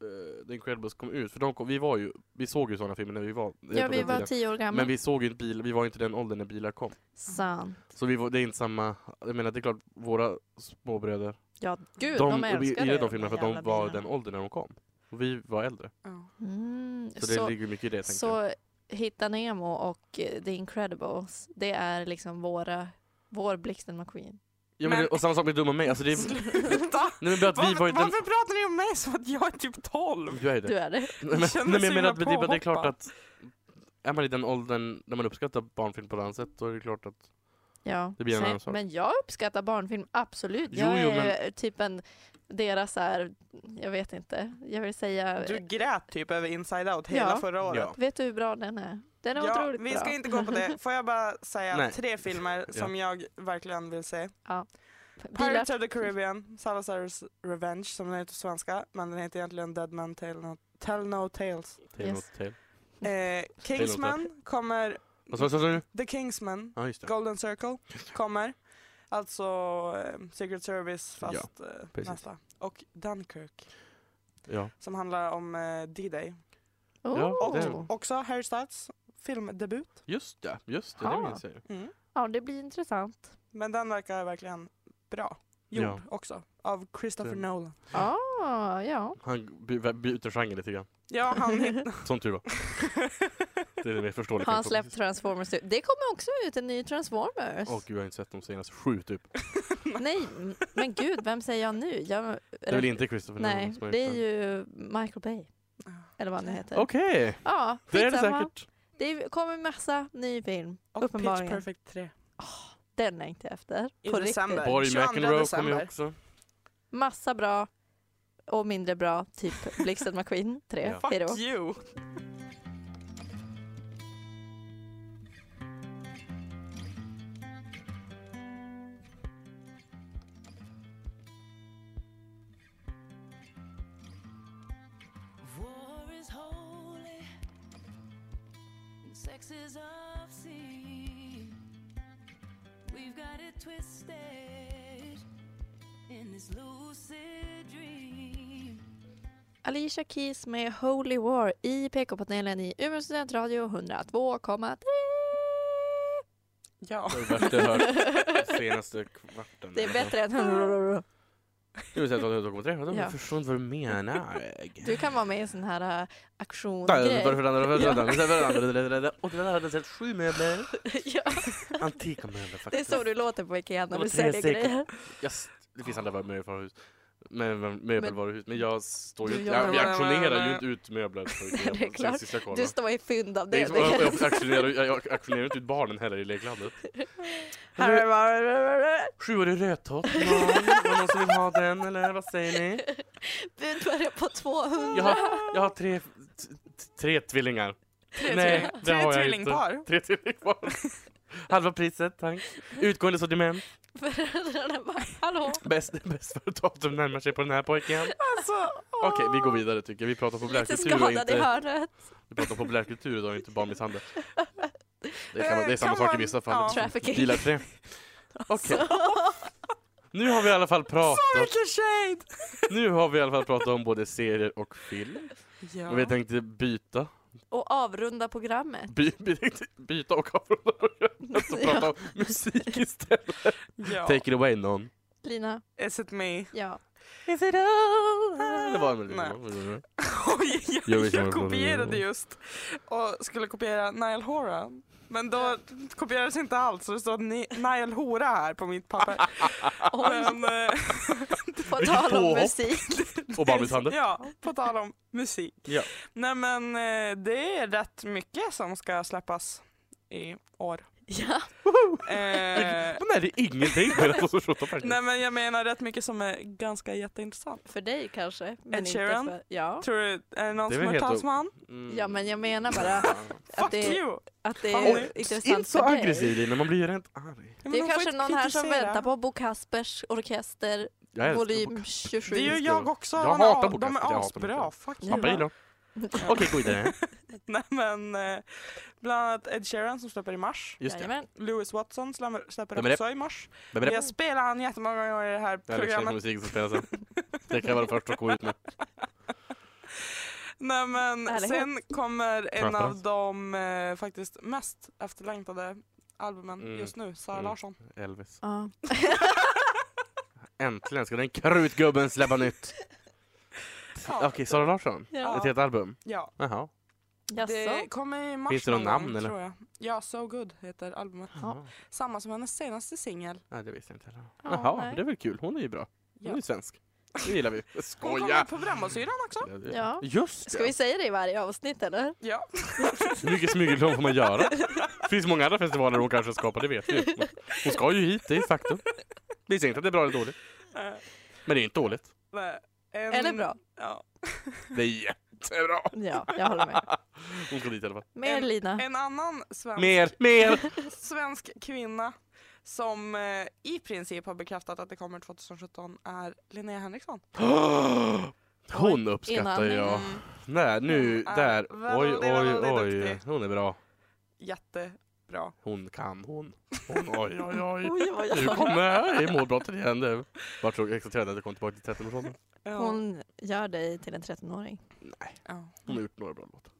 [SPEAKER 2] eh, The Incredibles kom ut. För de kom, vi, var ju, vi såg ju sådana filmer när vi var
[SPEAKER 3] Ja,
[SPEAKER 2] på
[SPEAKER 3] vi
[SPEAKER 2] den
[SPEAKER 3] var
[SPEAKER 2] tiden.
[SPEAKER 3] tio år gamla.
[SPEAKER 2] Men vi såg ju inte bilar, vi var ju inte den åldern när bilar kom.
[SPEAKER 3] Sant.
[SPEAKER 2] Så vi var, det är inte samma, jag menar det är klart våra småbröder,
[SPEAKER 3] Ja, gud, de,
[SPEAKER 2] de, vi
[SPEAKER 3] älskade
[SPEAKER 2] gillade de filmerna för att
[SPEAKER 3] jävla
[SPEAKER 2] de var
[SPEAKER 3] bilarna.
[SPEAKER 2] den åldern när de kom. Och vi var äldre.
[SPEAKER 4] Ja.
[SPEAKER 3] Mm,
[SPEAKER 2] Så det ligger ju mycket i det tänker jag.
[SPEAKER 3] Så Hitta Nemo och eh, The Incredibles, det är liksom våra, vår Blixten McQueen.
[SPEAKER 2] Ja, men,
[SPEAKER 4] Men-
[SPEAKER 2] det- Och samma sak med Dumma mig, alltså det
[SPEAKER 3] [laughs]
[SPEAKER 2] är, nej,
[SPEAKER 4] Sluta!
[SPEAKER 2] men bara att [laughs] vi
[SPEAKER 4] Varför,
[SPEAKER 2] var ju den,
[SPEAKER 4] varför pratar ni om mig som att jag är typ 12?
[SPEAKER 2] du är ju det.
[SPEAKER 3] Du är det.
[SPEAKER 2] Nej, men, nej,
[SPEAKER 4] känner
[SPEAKER 2] men
[SPEAKER 4] sig
[SPEAKER 2] jag menar att
[SPEAKER 4] himla
[SPEAKER 2] det, är- det är klart
[SPEAKER 4] påhoppad.
[SPEAKER 2] att är man i den åldern när man uppskattar barnfilm på ett annat sätt då är det klart att
[SPEAKER 3] Ja.
[SPEAKER 2] Det blir en
[SPEAKER 3] Sen-
[SPEAKER 2] annan sak.
[SPEAKER 3] Men jag uppskattar barnfilm, absolut.
[SPEAKER 2] Jo,
[SPEAKER 3] jag
[SPEAKER 2] jo,
[SPEAKER 3] är typ en, deras så här, jag vet inte, jag vill säga,
[SPEAKER 4] Du grät typ över Inside Out hela
[SPEAKER 3] Ja.
[SPEAKER 4] förra året.
[SPEAKER 2] Ja.
[SPEAKER 3] vet du hur bra den är? Den är
[SPEAKER 4] Ja,
[SPEAKER 3] otroligt
[SPEAKER 4] vi
[SPEAKER 3] bra.
[SPEAKER 4] ska inte gå på det. Får jag bara
[SPEAKER 2] [laughs]
[SPEAKER 4] säga
[SPEAKER 2] Nej.
[SPEAKER 4] tre filmer som jag verkligen vill se.
[SPEAKER 3] Bilar,
[SPEAKER 4] Pirates of the Caribbean, Salazar's Revenge som den heter på svenska, men den heter egentligen Dead Man Tell No, Tell no
[SPEAKER 3] [laughs]
[SPEAKER 4] Tales.
[SPEAKER 2] Tale
[SPEAKER 3] Yes.
[SPEAKER 2] not tale.
[SPEAKER 4] Eh, Kingsman kommer,
[SPEAKER 2] Vad sa- sa sa du?
[SPEAKER 4] The Kingsman,
[SPEAKER 2] Ja just det.
[SPEAKER 4] Golden Circle kommer. Alltså eh, Secret Service fast eh,
[SPEAKER 2] precis.
[SPEAKER 4] nästa. Och Dunkirk
[SPEAKER 2] Ja.
[SPEAKER 4] som handlar om eh, D-Day.
[SPEAKER 3] oh.
[SPEAKER 2] Ja,
[SPEAKER 4] Och
[SPEAKER 2] den-
[SPEAKER 4] också Harry Styles filmdebut.
[SPEAKER 2] Just det, just det, det
[SPEAKER 3] Ja.
[SPEAKER 2] minns jag ju.
[SPEAKER 4] Mm.
[SPEAKER 3] ja, det blir intressant.
[SPEAKER 4] Men den verkar verkligen bra. Gjord
[SPEAKER 2] Ja.
[SPEAKER 4] också. Av Christopher
[SPEAKER 2] Den-
[SPEAKER 4] Nolan.
[SPEAKER 3] Ah, ja.
[SPEAKER 2] Han by- byter genre lite grann.
[SPEAKER 4] Ja,
[SPEAKER 2] [laughs]
[SPEAKER 4] han hitt-
[SPEAKER 2] Som tur var. Det är
[SPEAKER 4] [laughs]
[SPEAKER 2] det mer förståeligt.
[SPEAKER 3] Har han släppt Transformers? Det kommer också ut en ny Transformers.
[SPEAKER 2] Åh gud, jag har inte sett de senaste sju typ.
[SPEAKER 3] Nej, m- men gud, vem säger jag nu? Jag,
[SPEAKER 2] Det är väl inte Christopher
[SPEAKER 3] Nej,
[SPEAKER 2] Nolan som har
[SPEAKER 3] det är
[SPEAKER 2] gjort den?
[SPEAKER 3] ju Michael Bay.
[SPEAKER 4] Ah,
[SPEAKER 3] Eller vad han heter.
[SPEAKER 2] Okej,
[SPEAKER 3] ja,
[SPEAKER 2] det är det
[SPEAKER 3] skitsamma.
[SPEAKER 2] säkert.
[SPEAKER 3] Det kommer massa ny film.
[SPEAKER 4] och Pitch
[SPEAKER 3] Uppenbarligen.
[SPEAKER 4] Perfect 3.
[SPEAKER 3] Den längtar jag efter.
[SPEAKER 4] I
[SPEAKER 3] På
[SPEAKER 4] december.
[SPEAKER 3] riktigt.
[SPEAKER 2] Borg
[SPEAKER 4] 22
[SPEAKER 2] McEnroe kommer ju
[SPEAKER 4] december.
[SPEAKER 2] också.
[SPEAKER 3] Massa bra och mindre bra,
[SPEAKER 2] [laughs]
[SPEAKER 3] typ Blixten McQueen 3.
[SPEAKER 2] Ja.
[SPEAKER 3] Ja. Hejdå.
[SPEAKER 4] Fuck you!
[SPEAKER 5] War is holy, and sex is obscene. We've got it twisted, in this lucid dream.
[SPEAKER 3] Alicia Keys med Holy War i PK-panelen i Umeå studentradio 102,3.
[SPEAKER 4] Ja.
[SPEAKER 2] Det var det värsta jag
[SPEAKER 3] [laughs]
[SPEAKER 2] hört senaste kvarten.
[SPEAKER 3] Det är bättre än...
[SPEAKER 2] Nu vill jag säga att jag kommer ihåg det.
[SPEAKER 3] Ja.
[SPEAKER 2] Jag förstår inte vad du menar. Ägg.
[SPEAKER 3] Du kan vara med i en sån här äh, aktiongrej.
[SPEAKER 2] Och den hade sett sju möbler.
[SPEAKER 3] [laughs] ja,
[SPEAKER 2] Antika möbler
[SPEAKER 3] det är
[SPEAKER 2] faktiskt.
[SPEAKER 3] så du låter på Ikea när
[SPEAKER 2] Det var
[SPEAKER 3] du
[SPEAKER 2] tre
[SPEAKER 3] säljer
[SPEAKER 2] stycken.
[SPEAKER 3] grejer.
[SPEAKER 2] Yes. Det finns andra möbelvaruhus. Men, möbelvaruhus. Men jag står ju
[SPEAKER 3] Du
[SPEAKER 2] jag,
[SPEAKER 3] jobbar
[SPEAKER 2] jag
[SPEAKER 4] med-
[SPEAKER 2] auktionerar ju inte ut möbler.
[SPEAKER 3] [laughs]
[SPEAKER 2] på Ikea.
[SPEAKER 3] Det är klart.
[SPEAKER 2] Sist jag kollade.
[SPEAKER 3] Du står i fynd av
[SPEAKER 2] Det är
[SPEAKER 3] det.
[SPEAKER 2] inte som att jag
[SPEAKER 3] [laughs]
[SPEAKER 2] auktionerar, jag auktionerar inte ut barnen heller i leklandet. Sjuårig rödtott, någon, Var det någon som vill ha den eller vad säger [laughs] ni?
[SPEAKER 3] Bud börjar på 200.
[SPEAKER 2] Jag har, jag har tre, t- t- tre tvillingar. Nej, det
[SPEAKER 4] Tre
[SPEAKER 2] har jag inte.
[SPEAKER 4] tvillingpar.
[SPEAKER 2] Tre tvillingpar. Halva priset, tack. Utgående sortiment.
[SPEAKER 3] [laughs] Föräldrarna bara, hallå?
[SPEAKER 2] Bäst, bäst för datum närmar sig på den här pojken.
[SPEAKER 4] Alltså,
[SPEAKER 2] Okej, vi går vidare tycker jag. Vi pratar
[SPEAKER 3] Lite
[SPEAKER 2] populärkultur och
[SPEAKER 3] skadad i
[SPEAKER 2] inte,
[SPEAKER 3] hörnet.
[SPEAKER 2] vi pratar populärkultur idag, inte barnmisshandel. Det, kan,
[SPEAKER 3] Eh,
[SPEAKER 2] vara- det är samma
[SPEAKER 4] Kan
[SPEAKER 2] sak i
[SPEAKER 4] man-
[SPEAKER 2] vissa
[SPEAKER 4] ja.
[SPEAKER 2] fall.
[SPEAKER 3] Trafficking.
[SPEAKER 2] Bilar tre. Okej,
[SPEAKER 3] Så-
[SPEAKER 2] nu har vi i alla fall
[SPEAKER 4] så
[SPEAKER 2] pratat.
[SPEAKER 4] mycket shade!
[SPEAKER 2] Nu har vi i alla fall pratat om både serier och film.
[SPEAKER 4] Ja.
[SPEAKER 2] Och vi tänkte byta.
[SPEAKER 3] Och
[SPEAKER 2] [laughs]
[SPEAKER 3] avrunda programmet.
[SPEAKER 2] By, vi tänkte byta och avrunda programmet och prata
[SPEAKER 3] Ja.
[SPEAKER 2] om musik istället.
[SPEAKER 4] ja.
[SPEAKER 2] Take it away någon.
[SPEAKER 3] Lina,
[SPEAKER 4] Is it me?
[SPEAKER 3] ja.
[SPEAKER 4] Is it all?
[SPEAKER 2] Det var en
[SPEAKER 4] Nej.
[SPEAKER 2] liten...
[SPEAKER 4] [laughs] Oj,
[SPEAKER 2] Jag
[SPEAKER 4] jag,
[SPEAKER 2] vet
[SPEAKER 4] jag
[SPEAKER 2] inte vad det är.
[SPEAKER 4] kopierade just och skulle kopiera Nile Hora. Men då kopierades inte allt så det står Ni- Nile Hora här på
[SPEAKER 2] [laughs]
[SPEAKER 4] mitt papper. Men, eh,
[SPEAKER 3] På
[SPEAKER 2] Vilket
[SPEAKER 3] tal om
[SPEAKER 2] påhopp.
[SPEAKER 3] musik.
[SPEAKER 2] [laughs]
[SPEAKER 3] [laughs]
[SPEAKER 2] Och barnmisshandel.
[SPEAKER 4] [laughs] ja, på tal om musik.
[SPEAKER 2] Ja.
[SPEAKER 4] Nej men eh, det är rätt mycket som ska släppas i år.
[SPEAKER 2] [laughs]
[SPEAKER 3] Ja.
[SPEAKER 2] Men
[SPEAKER 4] Eh,
[SPEAKER 2] nej, det är alltså ingenting med den positionen faktiskt.
[SPEAKER 4] nej men jag menar rätt mycket som är ganska jätteintressant.
[SPEAKER 3] För dig kanske. Men inte
[SPEAKER 4] Sheeran?
[SPEAKER 3] för, ja.
[SPEAKER 4] Tror du, är det någon
[SPEAKER 2] Det är
[SPEAKER 4] som
[SPEAKER 2] väl
[SPEAKER 4] är
[SPEAKER 2] helt o-
[SPEAKER 4] talsman?
[SPEAKER 2] Mm.
[SPEAKER 3] ja, men jag menar bara att
[SPEAKER 4] Fuck
[SPEAKER 3] det,
[SPEAKER 4] you!
[SPEAKER 3] att det
[SPEAKER 4] Fan,
[SPEAKER 3] är
[SPEAKER 4] oj,
[SPEAKER 3] intressant
[SPEAKER 2] Inte så
[SPEAKER 3] för dig.
[SPEAKER 2] aggressiv Lina, man blir ju Ah, rent arg.
[SPEAKER 4] Men de
[SPEAKER 3] Det är
[SPEAKER 4] får
[SPEAKER 3] kanske
[SPEAKER 4] inte
[SPEAKER 3] någon här som
[SPEAKER 4] kritisera.
[SPEAKER 3] väntar på Bo Kaspers orkester,
[SPEAKER 2] Jag älskar
[SPEAKER 3] volym
[SPEAKER 2] Bokas.
[SPEAKER 3] 27.
[SPEAKER 4] Det gör
[SPEAKER 2] Just
[SPEAKER 4] jag
[SPEAKER 2] det.
[SPEAKER 4] också.
[SPEAKER 2] Jag
[SPEAKER 4] Han
[SPEAKER 2] hatar
[SPEAKER 4] har-
[SPEAKER 2] Bokas,
[SPEAKER 4] De
[SPEAKER 2] jag
[SPEAKER 4] är
[SPEAKER 2] hatar
[SPEAKER 4] asbra.
[SPEAKER 2] Bokas.
[SPEAKER 4] Fuck
[SPEAKER 2] [laughs] Pappa gillar dem. Okej, gå vidare.
[SPEAKER 4] Nej men, eh, bland annat Ed Sheeran som släpper i mars.
[SPEAKER 2] Just det.
[SPEAKER 3] Jajamän.
[SPEAKER 4] Louis Watson släpper, släpper
[SPEAKER 2] Vem är det?
[SPEAKER 4] också i mars.
[SPEAKER 2] Vem är
[SPEAKER 4] Jag
[SPEAKER 2] det?
[SPEAKER 4] spelar han jättemånga gånger i det här
[SPEAKER 2] Det är liksom Alexander
[SPEAKER 4] programmet.
[SPEAKER 2] musik som spelar sen. Det kan jag vara först att gå ut med.
[SPEAKER 4] Nej men,
[SPEAKER 3] Härlighet.
[SPEAKER 4] sen kommer en
[SPEAKER 2] Skönt,
[SPEAKER 4] av de eh, faktiskt mest efterlängtade albumen
[SPEAKER 2] Mm.
[SPEAKER 4] just nu, Sara
[SPEAKER 2] Mm. [laughs]
[SPEAKER 4] Larsson.
[SPEAKER 2] Elvis.
[SPEAKER 3] Ja.
[SPEAKER 2] Äntligen ska den krutgubben släppa nytt. Okej,
[SPEAKER 4] Ja.
[SPEAKER 2] Sara Larsson.
[SPEAKER 3] Ja.
[SPEAKER 2] Ett helt album?
[SPEAKER 4] Ja,
[SPEAKER 2] Jaha.
[SPEAKER 4] det
[SPEAKER 3] Jaså?
[SPEAKER 4] kommer i mars
[SPEAKER 2] Finns det någon
[SPEAKER 4] någon gång,
[SPEAKER 2] namn, eller?
[SPEAKER 4] tror jag. Ja, So Good heter albumet.
[SPEAKER 2] Jaha.
[SPEAKER 4] Samma som hennes senaste singel.
[SPEAKER 2] Nej, det visste jag inte heller.
[SPEAKER 3] Ja,
[SPEAKER 2] Jaha,
[SPEAKER 3] nej.
[SPEAKER 2] men det är väl kul. Hon är ju bra. Hon
[SPEAKER 4] Ja.
[SPEAKER 2] är ju svensk. Det gillar
[SPEAKER 3] [laughs]
[SPEAKER 2] vi. Jag
[SPEAKER 4] Hon kommer
[SPEAKER 2] Skojar!
[SPEAKER 4] på Brännbollsyran också.
[SPEAKER 3] Ja.
[SPEAKER 2] Just
[SPEAKER 3] Ska vi
[SPEAKER 2] det!
[SPEAKER 3] säga det i varje avsnitt eller?
[SPEAKER 4] Ja.
[SPEAKER 2] Hur mycket smygreklam får man
[SPEAKER 3] [laughs]
[SPEAKER 2] göra? Det finns många andra festivaler hon kanske skapar, det vet vi ju. Men Hon ska ju hit, det är ett faktum. Vi säger inte att det är bra eller dåligt,
[SPEAKER 4] Eh,
[SPEAKER 2] men det är inte dåligt.
[SPEAKER 4] nej. En-
[SPEAKER 3] Eller bra?
[SPEAKER 4] Ja.
[SPEAKER 2] Det är jättebra!
[SPEAKER 3] Ja, jag håller med.
[SPEAKER 2] Hon ska dit i alla fall.
[SPEAKER 3] Mer
[SPEAKER 4] En-
[SPEAKER 3] Lina.
[SPEAKER 4] En annan svensk
[SPEAKER 2] Mer, mer! [gasps]
[SPEAKER 4] svensk kvinna som eh, i princip har bekräftat att det kommer 2017 är Linnea Henriksson. Mm.
[SPEAKER 2] Hon uppskattar
[SPEAKER 3] innan.
[SPEAKER 2] jag. Nej, nu,
[SPEAKER 3] Mm,
[SPEAKER 4] Hon är
[SPEAKER 2] där.
[SPEAKER 3] äh,
[SPEAKER 2] Oj,
[SPEAKER 4] väldigt,
[SPEAKER 2] oj,
[SPEAKER 4] väldigt
[SPEAKER 2] oj.
[SPEAKER 4] duktig.
[SPEAKER 2] Hon är bra.
[SPEAKER 4] Jättebra.
[SPEAKER 2] Hon kan, hon. Hon, oj, oj, oj.
[SPEAKER 3] Oj, oj,
[SPEAKER 2] Nu
[SPEAKER 3] oj.
[SPEAKER 2] kommer målbrottet igen nu. Vart såg exalterad att jag kom tillbaka till 13-årsåldern.
[SPEAKER 4] Ja.
[SPEAKER 3] Hon gör dig till en 13-åring.
[SPEAKER 4] Ja.
[SPEAKER 2] Hon har gjort några bra låtar.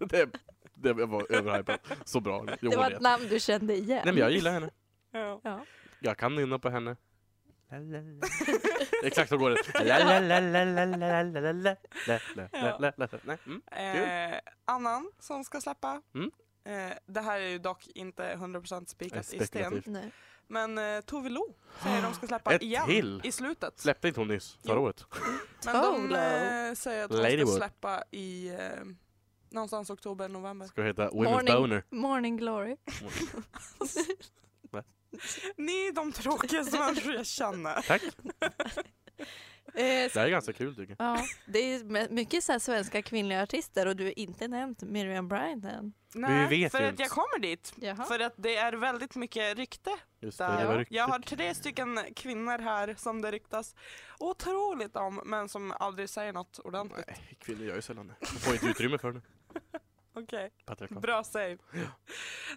[SPEAKER 2] [laughs] det, det var överhypat. Så bra. Jo,
[SPEAKER 3] Det
[SPEAKER 2] hon
[SPEAKER 3] var
[SPEAKER 2] vet.
[SPEAKER 3] ett namn du kände igen.
[SPEAKER 2] Nej men jag gillar henne.
[SPEAKER 4] Ja.
[SPEAKER 3] Ja.
[SPEAKER 2] Jag kan nynna på
[SPEAKER 4] [laughs]
[SPEAKER 2] henne. Exakt så går det. La, la, la, la, la, la, la, la, la, la, la, la, la, la. Nej, mm.
[SPEAKER 4] Eh, annan som ska släppa.
[SPEAKER 2] Mm.
[SPEAKER 4] Eh, det här är ju dock inte 100% spikat
[SPEAKER 2] Det är
[SPEAKER 4] i sten.
[SPEAKER 2] spekulativt.
[SPEAKER 3] Nej.
[SPEAKER 4] Men eh, Tove Lo säger de ska
[SPEAKER 2] [gasps]
[SPEAKER 4] släppa
[SPEAKER 2] Ett
[SPEAKER 4] igen
[SPEAKER 2] till.
[SPEAKER 4] i slutet.
[SPEAKER 2] Släppte inte hon nyss förra
[SPEAKER 4] Jo.
[SPEAKER 2] året?
[SPEAKER 4] Men de
[SPEAKER 3] Tove
[SPEAKER 4] eh, säger att hon
[SPEAKER 2] Ladywood.
[SPEAKER 4] ska släppa i eh, någonstans oktober, november.
[SPEAKER 2] Ska heta Women's
[SPEAKER 3] Morning,
[SPEAKER 2] Boner.
[SPEAKER 3] morning glory. [laughs]
[SPEAKER 4] Ni är de tråkigaste människor jag känner. [laughs]
[SPEAKER 2] Tack.
[SPEAKER 3] Eh,
[SPEAKER 2] Det här är ganska kul tycker jag.
[SPEAKER 3] Ja, det är me- mycket så här svenska kvinnliga artister och du har inte nämnt Miriam Bryant än.
[SPEAKER 2] Men vi vet
[SPEAKER 4] för
[SPEAKER 2] ju
[SPEAKER 4] att
[SPEAKER 2] inte.
[SPEAKER 4] jag kommer dit.
[SPEAKER 3] Jaha.
[SPEAKER 4] För att det är väldigt mycket rykte
[SPEAKER 2] Just det,
[SPEAKER 4] där.
[SPEAKER 2] det var
[SPEAKER 4] jag
[SPEAKER 2] riktigt.
[SPEAKER 4] har tre stycken kvinnor här som det ryktas otroligt om men som aldrig säger något ordentligt.
[SPEAKER 2] Nej, kvinnor gör ju sällan det. Man får inte utrymme för det.
[SPEAKER 4] Okej,
[SPEAKER 2] Patriarkat.
[SPEAKER 4] bra save.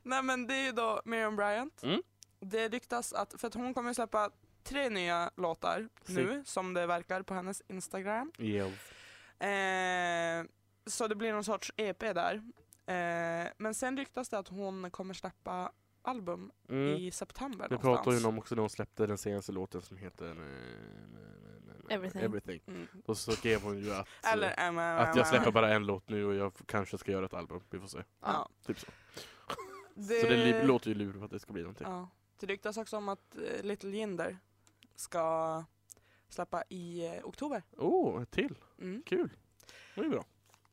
[SPEAKER 4] Nej men det är ju då Miriam Bryant.
[SPEAKER 2] Mm.
[SPEAKER 4] Det ryktas att, för att hon kommer släppa tre nya låtar
[SPEAKER 2] Si.
[SPEAKER 4] nu som det verkar på hennes Instagram.
[SPEAKER 2] Yes.
[SPEAKER 4] Eh, så det blir någon sorts EP där. Eh, men sen ryktas det att hon kommer släppa album
[SPEAKER 2] Mm.
[SPEAKER 4] i september
[SPEAKER 2] Det
[SPEAKER 4] någonstans.
[SPEAKER 2] pratade hon om också när hon släppte den senaste låten som heter eh,
[SPEAKER 3] Everything.
[SPEAKER 2] Everything.
[SPEAKER 4] Mm.
[SPEAKER 2] Då så skrev hon ju att,
[SPEAKER 4] [laughs]
[SPEAKER 2] eh,
[SPEAKER 4] Eller mm,
[SPEAKER 2] att jag släpper bara en låt nu och jag f- kanske ska göra ett album. Vi får se.
[SPEAKER 4] Ja.
[SPEAKER 2] Typ så. Så det typ. li- låter ju lurigt att det ska bli någonting.
[SPEAKER 4] Ja. Det ryktas också om att eh, Little Jinder ska släppa i eh, oktober.
[SPEAKER 2] Oh, ett till!
[SPEAKER 4] Mm.
[SPEAKER 2] Kul! Det är bra.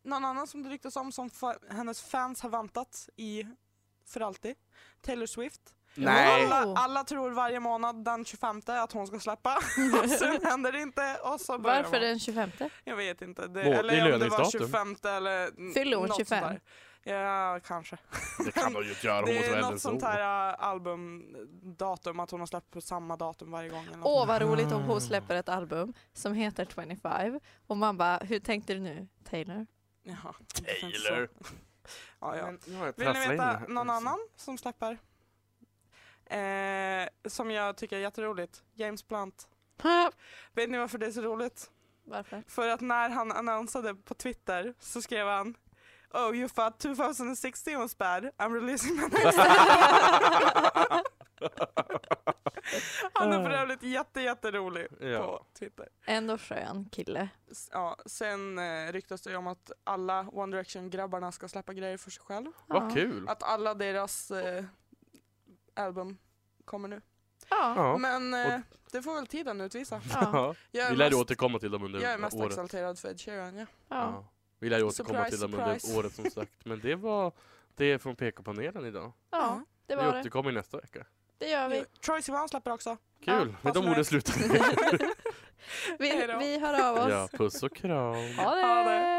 [SPEAKER 4] Någon annan som det ryktas om som fa- hennes fans har väntat i för alltid. Taylor Swift.
[SPEAKER 2] Nej!
[SPEAKER 4] Alla, alla tror varje månad den 25 att hon ska släppa. och sen händer det inte och så börjar
[SPEAKER 3] Varför
[SPEAKER 4] man.
[SPEAKER 3] den 25?
[SPEAKER 4] Jag vet inte. Det,
[SPEAKER 2] Må- det är
[SPEAKER 4] eller om det var
[SPEAKER 2] löningsdatum.
[SPEAKER 4] 25 eller n-
[SPEAKER 3] Fyller hon
[SPEAKER 4] något sånt
[SPEAKER 3] 25?
[SPEAKER 4] där. Ja, kanske.
[SPEAKER 2] Det kan hon ju inte göra, hon
[SPEAKER 4] Det
[SPEAKER 2] måste
[SPEAKER 4] är
[SPEAKER 2] vara
[SPEAKER 4] något
[SPEAKER 2] äldre än
[SPEAKER 4] sånt
[SPEAKER 2] så.
[SPEAKER 4] här äh, albumdatum, att hon har släppt på samma datum varje gång. Eller något.
[SPEAKER 3] Åh vad roligt om hon släpper ett album som heter 25 och man bara, hur tänkte du nu Taylor?
[SPEAKER 4] Jaha,
[SPEAKER 2] Taylor!
[SPEAKER 4] Ja, ja.
[SPEAKER 2] Men, ja, jag
[SPEAKER 4] Vill ni
[SPEAKER 2] trasslar in det
[SPEAKER 4] veta
[SPEAKER 2] här.
[SPEAKER 4] någon annan som släpper? Eh, som jag tycker är jätteroligt. James Blunt. Vet ni varför det är så roligt?
[SPEAKER 3] Varför?
[SPEAKER 4] För att när han annonsade på Twitter så skrev han Oh you thought 2016 was bad, I'm releasing my
[SPEAKER 2] [laughs]
[SPEAKER 4] next album." Han är för övrigt jätte, jätterolig
[SPEAKER 2] [laughs] Ja.
[SPEAKER 4] [laughs] på Twitter.
[SPEAKER 3] Ändå skön kille.
[SPEAKER 4] S- Ja, sen eh, ryktas det ju om att alla One Direction-grabbarna ska släppa grejer för sig själv.
[SPEAKER 2] Vad kul!
[SPEAKER 4] Att alla deras eh, album kommer nu.
[SPEAKER 3] Ja.
[SPEAKER 2] Ja.
[SPEAKER 4] Men eh, det får väl tiden utvisa.
[SPEAKER 3] ja.
[SPEAKER 4] Jag är
[SPEAKER 2] Vi lär ju
[SPEAKER 4] mest-
[SPEAKER 2] återkomma till dem under
[SPEAKER 4] jag är mest
[SPEAKER 2] året.
[SPEAKER 4] exalterad för Ed Sheeran. Ja.
[SPEAKER 3] ja.
[SPEAKER 2] Ja. Vi lär ju återkomma
[SPEAKER 4] Surprise,
[SPEAKER 2] till dem
[SPEAKER 4] surprise.
[SPEAKER 2] under året som sagt. Men det var det från PK-panelen idag.
[SPEAKER 3] ja. Det var
[SPEAKER 2] vi
[SPEAKER 3] det.
[SPEAKER 2] återkommer nästa vecka.
[SPEAKER 3] Det gör vi.
[SPEAKER 4] Ja. Troye Mm. Sivan släpper också. Ja,
[SPEAKER 2] Kul! Med
[SPEAKER 4] vad som
[SPEAKER 2] de orden
[SPEAKER 4] helst.
[SPEAKER 2] slutar vi.
[SPEAKER 3] Vi,
[SPEAKER 4] Hej då.
[SPEAKER 3] vi hör av oss.
[SPEAKER 2] Ja, puss och kram.
[SPEAKER 3] Ha
[SPEAKER 4] Ha det.
[SPEAKER 3] det!